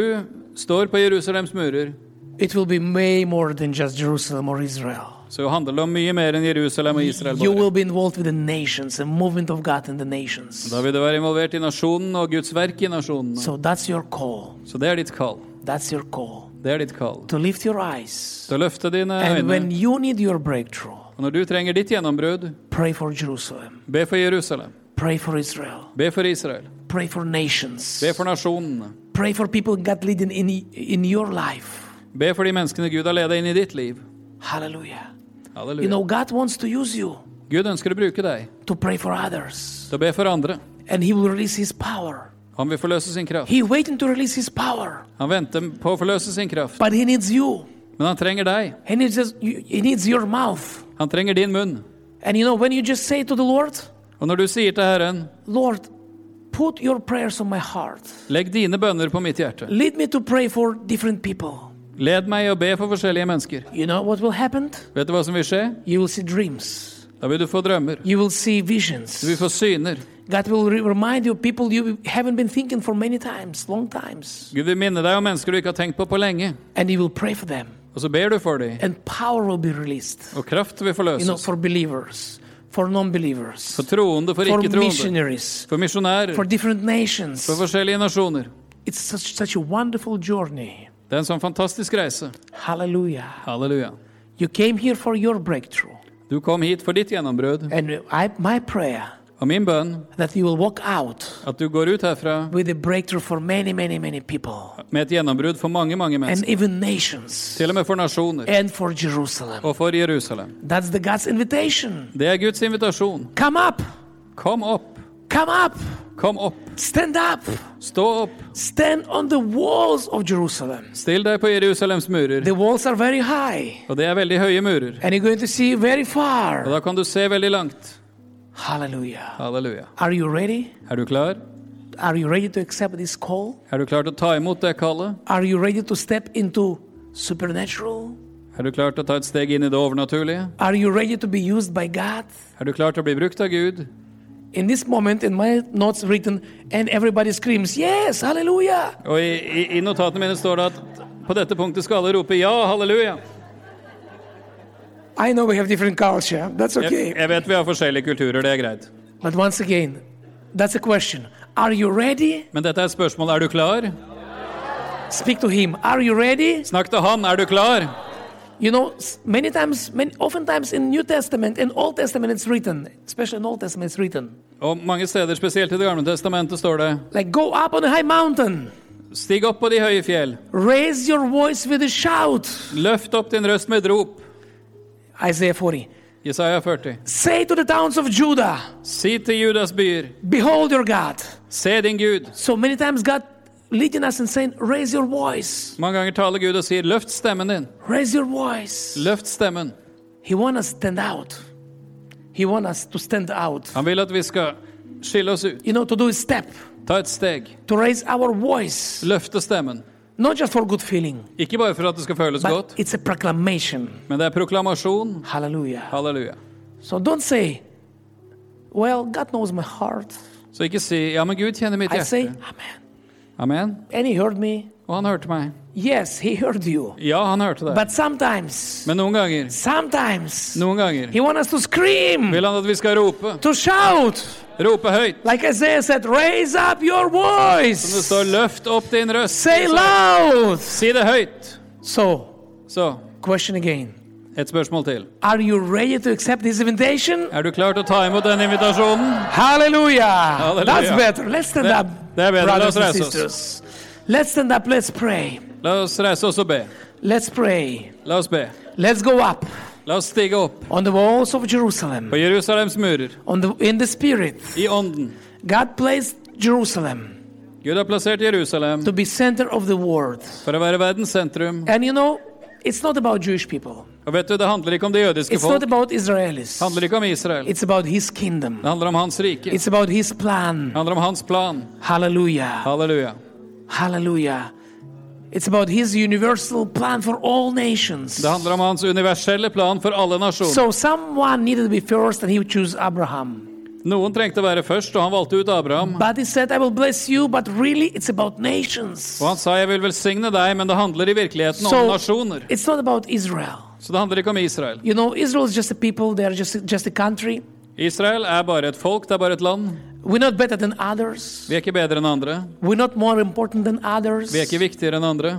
[SPEAKER 2] står på Jerusalems murer,
[SPEAKER 1] it will be way more than just jerusalem or israel
[SPEAKER 2] så handler det om mye mer enn Jerusalem og Israel.
[SPEAKER 1] you
[SPEAKER 2] Bare.
[SPEAKER 1] will be involved with the nations and movement of god in the nations
[SPEAKER 2] Da vil du være involvert i nasjonene og Guds verk i nasjonene.
[SPEAKER 1] so that's your call
[SPEAKER 2] Så det er ditt kall.
[SPEAKER 1] that's your call
[SPEAKER 2] Det er ditt kall.
[SPEAKER 1] to lift your eyes
[SPEAKER 2] Så løfte dine
[SPEAKER 1] and
[SPEAKER 2] øyne.
[SPEAKER 1] when you need your breakthrough
[SPEAKER 2] Og når du trenger ditt gjennombrudd,
[SPEAKER 1] pray for jerusalem
[SPEAKER 2] be for Jerusalem.
[SPEAKER 1] pray for israel
[SPEAKER 2] Be for Israel.
[SPEAKER 1] Pray for nations.
[SPEAKER 2] Be for nasjonene.
[SPEAKER 1] Pray for people God leading in, in your life.
[SPEAKER 2] Be for de menneskene Gud har ledet inn i ditt liv.
[SPEAKER 1] Hallelujah. You
[SPEAKER 2] Halleluja.
[SPEAKER 1] know, God wants to use you
[SPEAKER 2] Gud ønsker å bruke deg
[SPEAKER 1] to pray for others,
[SPEAKER 2] til å be for andre.
[SPEAKER 1] and He will release His power.
[SPEAKER 2] Han vil forløse sin kraft.
[SPEAKER 1] He waiting to release His power,
[SPEAKER 2] Han venter på å forløse sin kraft.
[SPEAKER 1] but He needs you.
[SPEAKER 2] Men han trenger deg.
[SPEAKER 1] He needs, just, you- he needs your mouth.
[SPEAKER 2] Han trenger din munn.
[SPEAKER 1] And you know, when you just say to the Lord,
[SPEAKER 2] Og når du sier til Herren,
[SPEAKER 1] Lord, put your prayers on my heart.
[SPEAKER 2] legg dine bønner på mitt hjerte.
[SPEAKER 1] Lead me to pray for different people.
[SPEAKER 2] Led meg i å be for forskjellige mennesker.
[SPEAKER 1] You know what will happen?
[SPEAKER 2] Vet du hva som vil skje?
[SPEAKER 1] You will see dreams.
[SPEAKER 2] Da vil du få drømmer.
[SPEAKER 1] You will see
[SPEAKER 2] Du vil
[SPEAKER 1] visions.
[SPEAKER 2] få syner.
[SPEAKER 1] God will re- remind you of people you haven't been thinking for many times, long times.
[SPEAKER 2] Gud vil minne deg om mennesker du ikke har tenkt på på lenge.
[SPEAKER 1] And you will pray for them.
[SPEAKER 2] Og så ber du for dem.
[SPEAKER 1] And power will be released.
[SPEAKER 2] Og kraft vil
[SPEAKER 1] You know,
[SPEAKER 2] forløses.
[SPEAKER 1] for believers, for non-believers,
[SPEAKER 2] For troende, for
[SPEAKER 1] for
[SPEAKER 2] ikke-troende.
[SPEAKER 1] missionaries,
[SPEAKER 2] For misjonærer.
[SPEAKER 1] for different nations.
[SPEAKER 2] For forskjellige nasjoner.
[SPEAKER 1] It's such, such a wonderful journey.
[SPEAKER 2] Det er en sånn fantastisk reise.
[SPEAKER 1] Hallelujah.
[SPEAKER 2] Halleluja.
[SPEAKER 1] You came here for your breakthrough.
[SPEAKER 2] Du kom hit for ditt gjennombrudd.
[SPEAKER 1] And I, my prayer
[SPEAKER 2] Og min bønn
[SPEAKER 1] that you will walk out
[SPEAKER 2] at du går ut herfra
[SPEAKER 1] with a breakthrough for many, many, many people
[SPEAKER 2] med et gjennombrudd for mange, mange
[SPEAKER 1] and
[SPEAKER 2] mennesker.
[SPEAKER 1] even nations
[SPEAKER 2] Til og med for nasjoner.
[SPEAKER 1] and for Jerusalem.
[SPEAKER 2] Og for Jerusalem.
[SPEAKER 1] That's the God's invitation.
[SPEAKER 2] Det er Guds invitasjon.
[SPEAKER 1] Come up,
[SPEAKER 2] Kom opp.
[SPEAKER 1] come up,
[SPEAKER 2] Kom opp.
[SPEAKER 1] stand up,
[SPEAKER 2] Stå opp.
[SPEAKER 1] stand on the walls of Jerusalem.
[SPEAKER 2] Still deg på Jerusalems murer.
[SPEAKER 1] The walls are very high,
[SPEAKER 2] Og det er veldig høye murer.
[SPEAKER 1] and you're going to see very
[SPEAKER 2] Og
[SPEAKER 1] far.
[SPEAKER 2] da kan du se veldig langt.
[SPEAKER 1] Hallelujah.
[SPEAKER 2] Halleluja.
[SPEAKER 1] Are you ready?
[SPEAKER 2] Er du klar?
[SPEAKER 1] Are you ready to accept this call?
[SPEAKER 2] Er du klar til å ta imot det kallet?
[SPEAKER 1] Are you ready to step into supernatural?
[SPEAKER 2] Er du klar til å ta et steg inn i det overnaturlige?
[SPEAKER 1] Are you ready to be used by God?
[SPEAKER 2] Er du klar til å bli brukt av Gud?
[SPEAKER 1] In this moment, in my notes written, and everybody screams, Yes, hallelujah!
[SPEAKER 2] Og i, i, i notatene mine står det at på dette punktet skal alle rope ja, halleluja.
[SPEAKER 1] I know we have different culture, that's
[SPEAKER 2] Jeg,
[SPEAKER 1] okay.
[SPEAKER 2] jeg vet vi har forskjellige kulturer, det er greit.
[SPEAKER 1] But once again, that's a question. Are you ready?
[SPEAKER 2] Men dette er et spørsmål. Er du klar?
[SPEAKER 1] Speak to Him. Are you ready?
[SPEAKER 2] Snakk til han. Er du klar?
[SPEAKER 1] You know, s- many times, many, oftentimes in New Testament, in Old Testament, it's written, especially in Old Testament, it's written,
[SPEAKER 2] Og mange steder, spesielt i Det gamle testamentet, står det
[SPEAKER 1] like, Go up on a high mountain,
[SPEAKER 2] Stig opp på de høye fjell.
[SPEAKER 1] raise your voice with a shout.
[SPEAKER 2] Løft opp din røst med et rop.
[SPEAKER 1] Isaiah 40.
[SPEAKER 2] Jesaja 40.
[SPEAKER 1] Say to the towns of Judah,
[SPEAKER 2] Si til Judas byer,
[SPEAKER 1] Behold your God.
[SPEAKER 2] se din Gud.
[SPEAKER 1] So many times God leading us and saying, raise your voice,
[SPEAKER 2] Mange ganger taler Gud og sier, løft stemmen din.
[SPEAKER 1] raise your voice.
[SPEAKER 2] Løft stemmen.
[SPEAKER 1] He wants us to stand out. He wants us to stand out.
[SPEAKER 2] Han vil at vi skal skille oss ut.
[SPEAKER 1] You know, to do a step,
[SPEAKER 2] Ta et steg.
[SPEAKER 1] to raise our voice,
[SPEAKER 2] Løfte stemmen.
[SPEAKER 1] not just for good feeling,
[SPEAKER 2] Ikke bare for at det skal føles
[SPEAKER 1] but
[SPEAKER 2] godt,
[SPEAKER 1] it's a proclamation.
[SPEAKER 2] men det er proklamasjon.
[SPEAKER 1] Hallelujah.
[SPEAKER 2] Halleluja.
[SPEAKER 1] So don't say, well, God knows my heart.
[SPEAKER 2] Så ikke si 'Ja, men Gud kjenner mitt
[SPEAKER 1] I say,
[SPEAKER 2] hjerte'.
[SPEAKER 1] Amen.
[SPEAKER 2] Amen.
[SPEAKER 1] And He heard me.
[SPEAKER 2] Og han hørte meg.
[SPEAKER 1] Yes, He heard you.
[SPEAKER 2] Ja, han hørte deg.
[SPEAKER 1] But sometimes,
[SPEAKER 2] Men noen ganger,
[SPEAKER 1] sometimes,
[SPEAKER 2] noen ganger
[SPEAKER 1] He wants us to scream,
[SPEAKER 2] vil han at vi skal rope.
[SPEAKER 1] to shout.
[SPEAKER 2] Rope høyt.
[SPEAKER 1] Like Isaiah said, raise up your
[SPEAKER 2] Det
[SPEAKER 1] voice.
[SPEAKER 2] står 'løft opp din røst'.
[SPEAKER 1] Say loud.
[SPEAKER 2] Si det høyt.
[SPEAKER 1] So,
[SPEAKER 2] Så,
[SPEAKER 1] question again.
[SPEAKER 2] et spørsmål til.
[SPEAKER 1] Are you ready to accept this invitation?
[SPEAKER 2] Er du klar til å ta imot den invitasjonen?
[SPEAKER 1] Hallelujah. That's
[SPEAKER 2] Hallelujah.
[SPEAKER 1] better. Let's stand
[SPEAKER 2] That-
[SPEAKER 1] up,
[SPEAKER 2] that better.
[SPEAKER 1] brothers
[SPEAKER 2] Let's
[SPEAKER 1] and
[SPEAKER 2] rise us.
[SPEAKER 1] sisters. Let's stand up. Let's pray.
[SPEAKER 2] La oss reise oss og be.
[SPEAKER 1] Let's pray.
[SPEAKER 2] La oss be.
[SPEAKER 1] Let's go up
[SPEAKER 2] La oss stige opp
[SPEAKER 1] on the walls of Jerusalem,
[SPEAKER 2] på Jerusalems murer,
[SPEAKER 1] on the, in the spirit.
[SPEAKER 2] i ånden.
[SPEAKER 1] God placed Jerusalem
[SPEAKER 2] Gud har plassert Jerusalem
[SPEAKER 1] to be center of the world.
[SPEAKER 2] for å være verdens sentrum.
[SPEAKER 1] And you know, it's not about Jewish people.
[SPEAKER 2] Og vet du, det handler ikke om det jødiske
[SPEAKER 1] It's not
[SPEAKER 2] folk.
[SPEAKER 1] about
[SPEAKER 2] Det
[SPEAKER 1] Israelis.
[SPEAKER 2] handler ikke om Israel.
[SPEAKER 1] It's about his kingdom.
[SPEAKER 2] Det handler om hans rike.
[SPEAKER 1] It's about His
[SPEAKER 2] Det
[SPEAKER 1] plan.
[SPEAKER 2] handler om hans plan.
[SPEAKER 1] Hallelujah.
[SPEAKER 2] Halleluja.
[SPEAKER 1] Hallelujah. It's about His universal plan for all nations.
[SPEAKER 2] Det handler om hans universelle plan for alle nasjoner.
[SPEAKER 1] So someone needed to be first, and He would choose Abraham.
[SPEAKER 2] Noen trengte å være først, og han valgte ut Abraham.
[SPEAKER 1] But He said, I will bless you, but really it's about nations.
[SPEAKER 2] Og han sa 'Jeg vil velsigne deg', men det handler i virkeligheten om
[SPEAKER 1] So-
[SPEAKER 2] nasjoner.
[SPEAKER 1] It's not about Israel.
[SPEAKER 2] Så det handler ikke om Israel.
[SPEAKER 1] You know, Israel is just a people, they're just, just a country.
[SPEAKER 2] Israel er bare et folk, det er bare et land.
[SPEAKER 1] We're not better than others.
[SPEAKER 2] Vi er ikke bedre enn andre.
[SPEAKER 1] We're not more important than others.
[SPEAKER 2] Vi er ikke viktigere enn andre.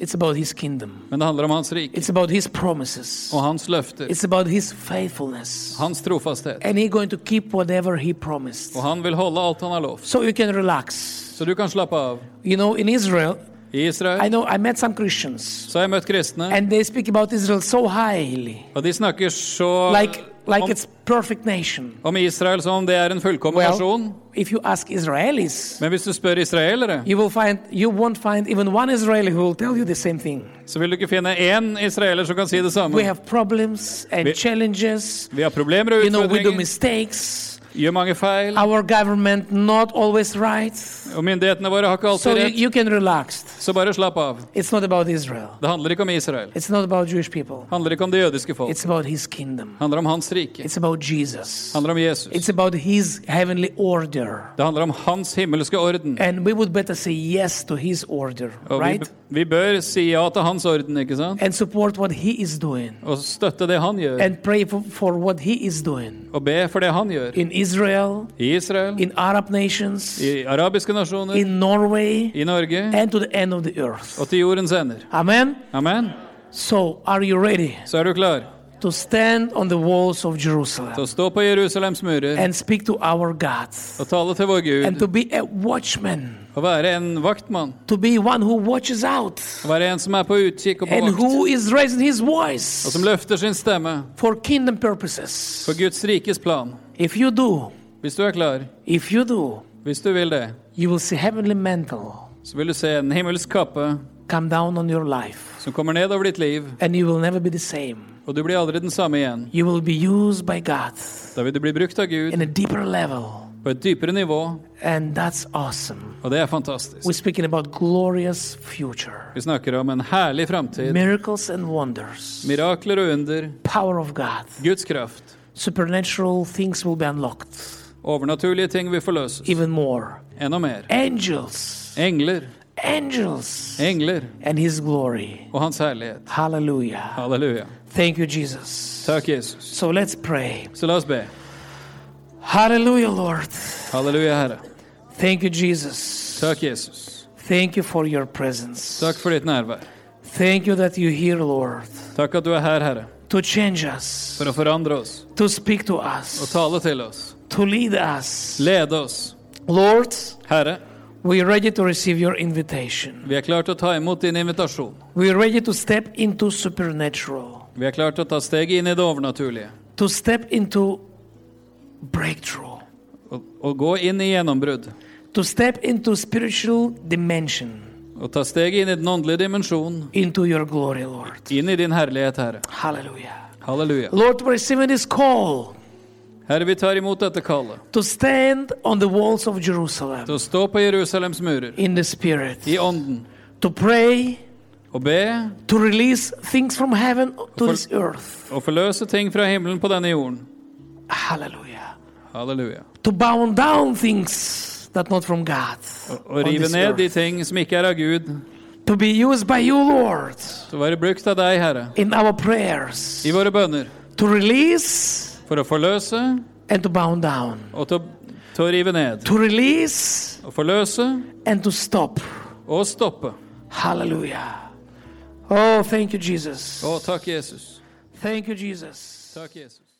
[SPEAKER 1] It's about His kingdom.
[SPEAKER 2] Men det handler om hans rike
[SPEAKER 1] It's about His promises.
[SPEAKER 2] og hans løfter.
[SPEAKER 1] It's about His faithfulness.
[SPEAKER 2] Hans trofasthet.
[SPEAKER 1] And He's going to keep whatever He promised.
[SPEAKER 2] Og han vil holde alt han har lovt.
[SPEAKER 1] so you can relax.
[SPEAKER 2] Så du kan slappe av.
[SPEAKER 1] You know, in Israel,
[SPEAKER 2] I Israel
[SPEAKER 1] I know I met some Christians,
[SPEAKER 2] så har jeg møtt kristne,
[SPEAKER 1] and they speak about Israel so highly,
[SPEAKER 2] og de snakker så
[SPEAKER 1] like like
[SPEAKER 2] om,
[SPEAKER 1] it's perfect nation.
[SPEAKER 2] om Israel som om det er en fullkommen nasjon.
[SPEAKER 1] Well, if you ask Israelis,
[SPEAKER 2] Men hvis du spør israelere,
[SPEAKER 1] you will find you won't find even one Israeli who will tell you the same thing.
[SPEAKER 2] så vil du ikke finne én israeler som kan si det
[SPEAKER 1] We
[SPEAKER 2] samme.
[SPEAKER 1] have problems and
[SPEAKER 2] We-
[SPEAKER 1] challenges.
[SPEAKER 2] Vi har problemer og
[SPEAKER 1] You know, we do Ah.
[SPEAKER 2] utfordringer.
[SPEAKER 1] mistakes.
[SPEAKER 2] gjør mange feil,
[SPEAKER 1] Our government not always right.
[SPEAKER 2] og myndighetene våre har ikke
[SPEAKER 1] So
[SPEAKER 2] alltid
[SPEAKER 1] you,
[SPEAKER 2] rett.
[SPEAKER 1] you can relax.
[SPEAKER 2] Så bare slapp av.
[SPEAKER 1] It's not about Israel.
[SPEAKER 2] Det handler ikke om Israel.
[SPEAKER 1] It's not about Jewish people.
[SPEAKER 2] Det handler ikke om det jødiske folk.
[SPEAKER 1] It's about his kingdom.
[SPEAKER 2] Det handler om hans rike.
[SPEAKER 1] It's about Jesus.
[SPEAKER 2] Det handler om Jesus.
[SPEAKER 1] It's about his heavenly order.
[SPEAKER 2] Det handler om hans himmelske orden.
[SPEAKER 1] And we would better say yes to his order,
[SPEAKER 2] Og vi,
[SPEAKER 1] right?
[SPEAKER 2] vi bør si ja til hans orden, ikke sant?
[SPEAKER 1] And support what he is doing.
[SPEAKER 2] Og støtte det han gjør.
[SPEAKER 1] And pray for, for what he is doing
[SPEAKER 2] Og be for det han gjør.
[SPEAKER 1] in Israel,
[SPEAKER 2] I Israel,
[SPEAKER 1] in Arab nations,
[SPEAKER 2] i arabiske nasjoner,
[SPEAKER 1] in Norway,
[SPEAKER 2] i Norge
[SPEAKER 1] and to the end of the earth.
[SPEAKER 2] og til jordens ender.
[SPEAKER 1] Amen.
[SPEAKER 2] Amen.
[SPEAKER 1] So, are you ready
[SPEAKER 2] Så er du klar
[SPEAKER 1] to stand on the walls of
[SPEAKER 2] til
[SPEAKER 1] Jerusalem
[SPEAKER 2] å stå på Jerusalems murer
[SPEAKER 1] and speak to our God
[SPEAKER 2] og tale til vår
[SPEAKER 1] and
[SPEAKER 2] Gud
[SPEAKER 1] to be a watchman,
[SPEAKER 2] og være en vaktmann.
[SPEAKER 1] to be one who watches out
[SPEAKER 2] Å være en som er på utkikk og på
[SPEAKER 1] and
[SPEAKER 2] vakt,
[SPEAKER 1] who is raising his
[SPEAKER 2] og
[SPEAKER 1] voice
[SPEAKER 2] som løfter sin stemme
[SPEAKER 1] for kingdom purposes?
[SPEAKER 2] for Guds rikes plan.
[SPEAKER 1] If you do,
[SPEAKER 2] Hvis du er klar,
[SPEAKER 1] if you do,
[SPEAKER 2] hvis du vil det,
[SPEAKER 1] you will see heavenly mantle
[SPEAKER 2] så vil du se en himmelsk kappe
[SPEAKER 1] come down on your life
[SPEAKER 2] som kommer ned over ditt liv,
[SPEAKER 1] and you will never be the same.
[SPEAKER 2] og du blir aldri den samme igjen.
[SPEAKER 1] You will be used by God
[SPEAKER 2] Da vil du bli brukt av Gud
[SPEAKER 1] in a deeper level.
[SPEAKER 2] på et dypere nivå,
[SPEAKER 1] And that's awesome.
[SPEAKER 2] og det er fantastisk.
[SPEAKER 1] We're speaking about glorious future.
[SPEAKER 2] Vi snakker om en herlig framtid,
[SPEAKER 1] Miracles and wonders.
[SPEAKER 2] mirakler og under,
[SPEAKER 1] Power of God.
[SPEAKER 2] Guds kraft.
[SPEAKER 1] Supernatural things will be unlocked
[SPEAKER 2] Overnaturlige ting vil forløses.
[SPEAKER 1] even more.
[SPEAKER 2] Enda mer.
[SPEAKER 1] Angels.
[SPEAKER 2] Engler,
[SPEAKER 1] Angels.
[SPEAKER 2] engler
[SPEAKER 1] And his glory.
[SPEAKER 2] og hans herlighet.
[SPEAKER 1] Hallelujah.
[SPEAKER 2] Halleluja.
[SPEAKER 1] Thank you, Jesus.
[SPEAKER 2] Takk, Jesus.
[SPEAKER 1] So let's pray.
[SPEAKER 2] Så la oss be.
[SPEAKER 1] Hallelujah, Lord.
[SPEAKER 2] Halleluja, Herre.
[SPEAKER 1] Thank you, Jesus.
[SPEAKER 2] Takk, Jesus.
[SPEAKER 1] Thank you for your presence.
[SPEAKER 2] Takk for ditt nærvær.
[SPEAKER 1] Thank you that you're here, Lord,
[SPEAKER 2] Takk at du er her, Herre,
[SPEAKER 1] to change us,
[SPEAKER 2] for å forandre oss
[SPEAKER 1] to speak to
[SPEAKER 2] og
[SPEAKER 1] us,
[SPEAKER 2] tale til oss,
[SPEAKER 1] to lead us.
[SPEAKER 2] lede oss.
[SPEAKER 1] Lord,
[SPEAKER 2] Herre,
[SPEAKER 1] we're ready to receive your invitation.
[SPEAKER 2] vi er klare til å ta imot din invitasjon.
[SPEAKER 1] We're ready to step into supernatural,
[SPEAKER 2] Vi er klare til å ta steget inn i det overnaturlige
[SPEAKER 1] to step into breakthrough,
[SPEAKER 2] og, og gå inn i gjennombrudd.
[SPEAKER 1] to step into spiritual dimension,
[SPEAKER 2] Og ta steget inn i den åndelige dimensjon,
[SPEAKER 1] into your glory, Lord.
[SPEAKER 2] inn i din herlighet, Herre.
[SPEAKER 1] Hallelujah.
[SPEAKER 2] Halleluja.
[SPEAKER 1] Lord, we're receiving this call
[SPEAKER 2] Herre, vi tar imot dette kallet
[SPEAKER 1] to stand on the walls of Jerusalem
[SPEAKER 2] til å stå på Jerusalems murer,
[SPEAKER 1] in the Spirit,
[SPEAKER 2] i ånden,
[SPEAKER 1] to pray,
[SPEAKER 2] og be
[SPEAKER 1] to release things from heaven to
[SPEAKER 2] For-
[SPEAKER 1] this earth.
[SPEAKER 2] og forløse ting fra himmelen på denne jorden.
[SPEAKER 1] Hallelujah.
[SPEAKER 2] Halleluja.
[SPEAKER 1] To bound down things that not from God.
[SPEAKER 2] Og,
[SPEAKER 1] on
[SPEAKER 2] og rive
[SPEAKER 1] this
[SPEAKER 2] ned de
[SPEAKER 1] earth.
[SPEAKER 2] ting som ikke er av Gud,
[SPEAKER 1] To be used by you, Lord,
[SPEAKER 2] til å være brukt av deg, Herre,
[SPEAKER 1] in our prayers.
[SPEAKER 2] i våre bønner,
[SPEAKER 1] To release
[SPEAKER 2] for å forløse
[SPEAKER 1] and to bound down.
[SPEAKER 2] og til å, til å rive ned.
[SPEAKER 1] To release
[SPEAKER 2] Å forløse
[SPEAKER 1] and to stop.
[SPEAKER 2] og stoppe.
[SPEAKER 1] Hallelujah. Oh, thank you, Jesus.
[SPEAKER 2] Å, takk, Jesus.
[SPEAKER 1] Thank you, Jesus.
[SPEAKER 2] Takk, Jesus.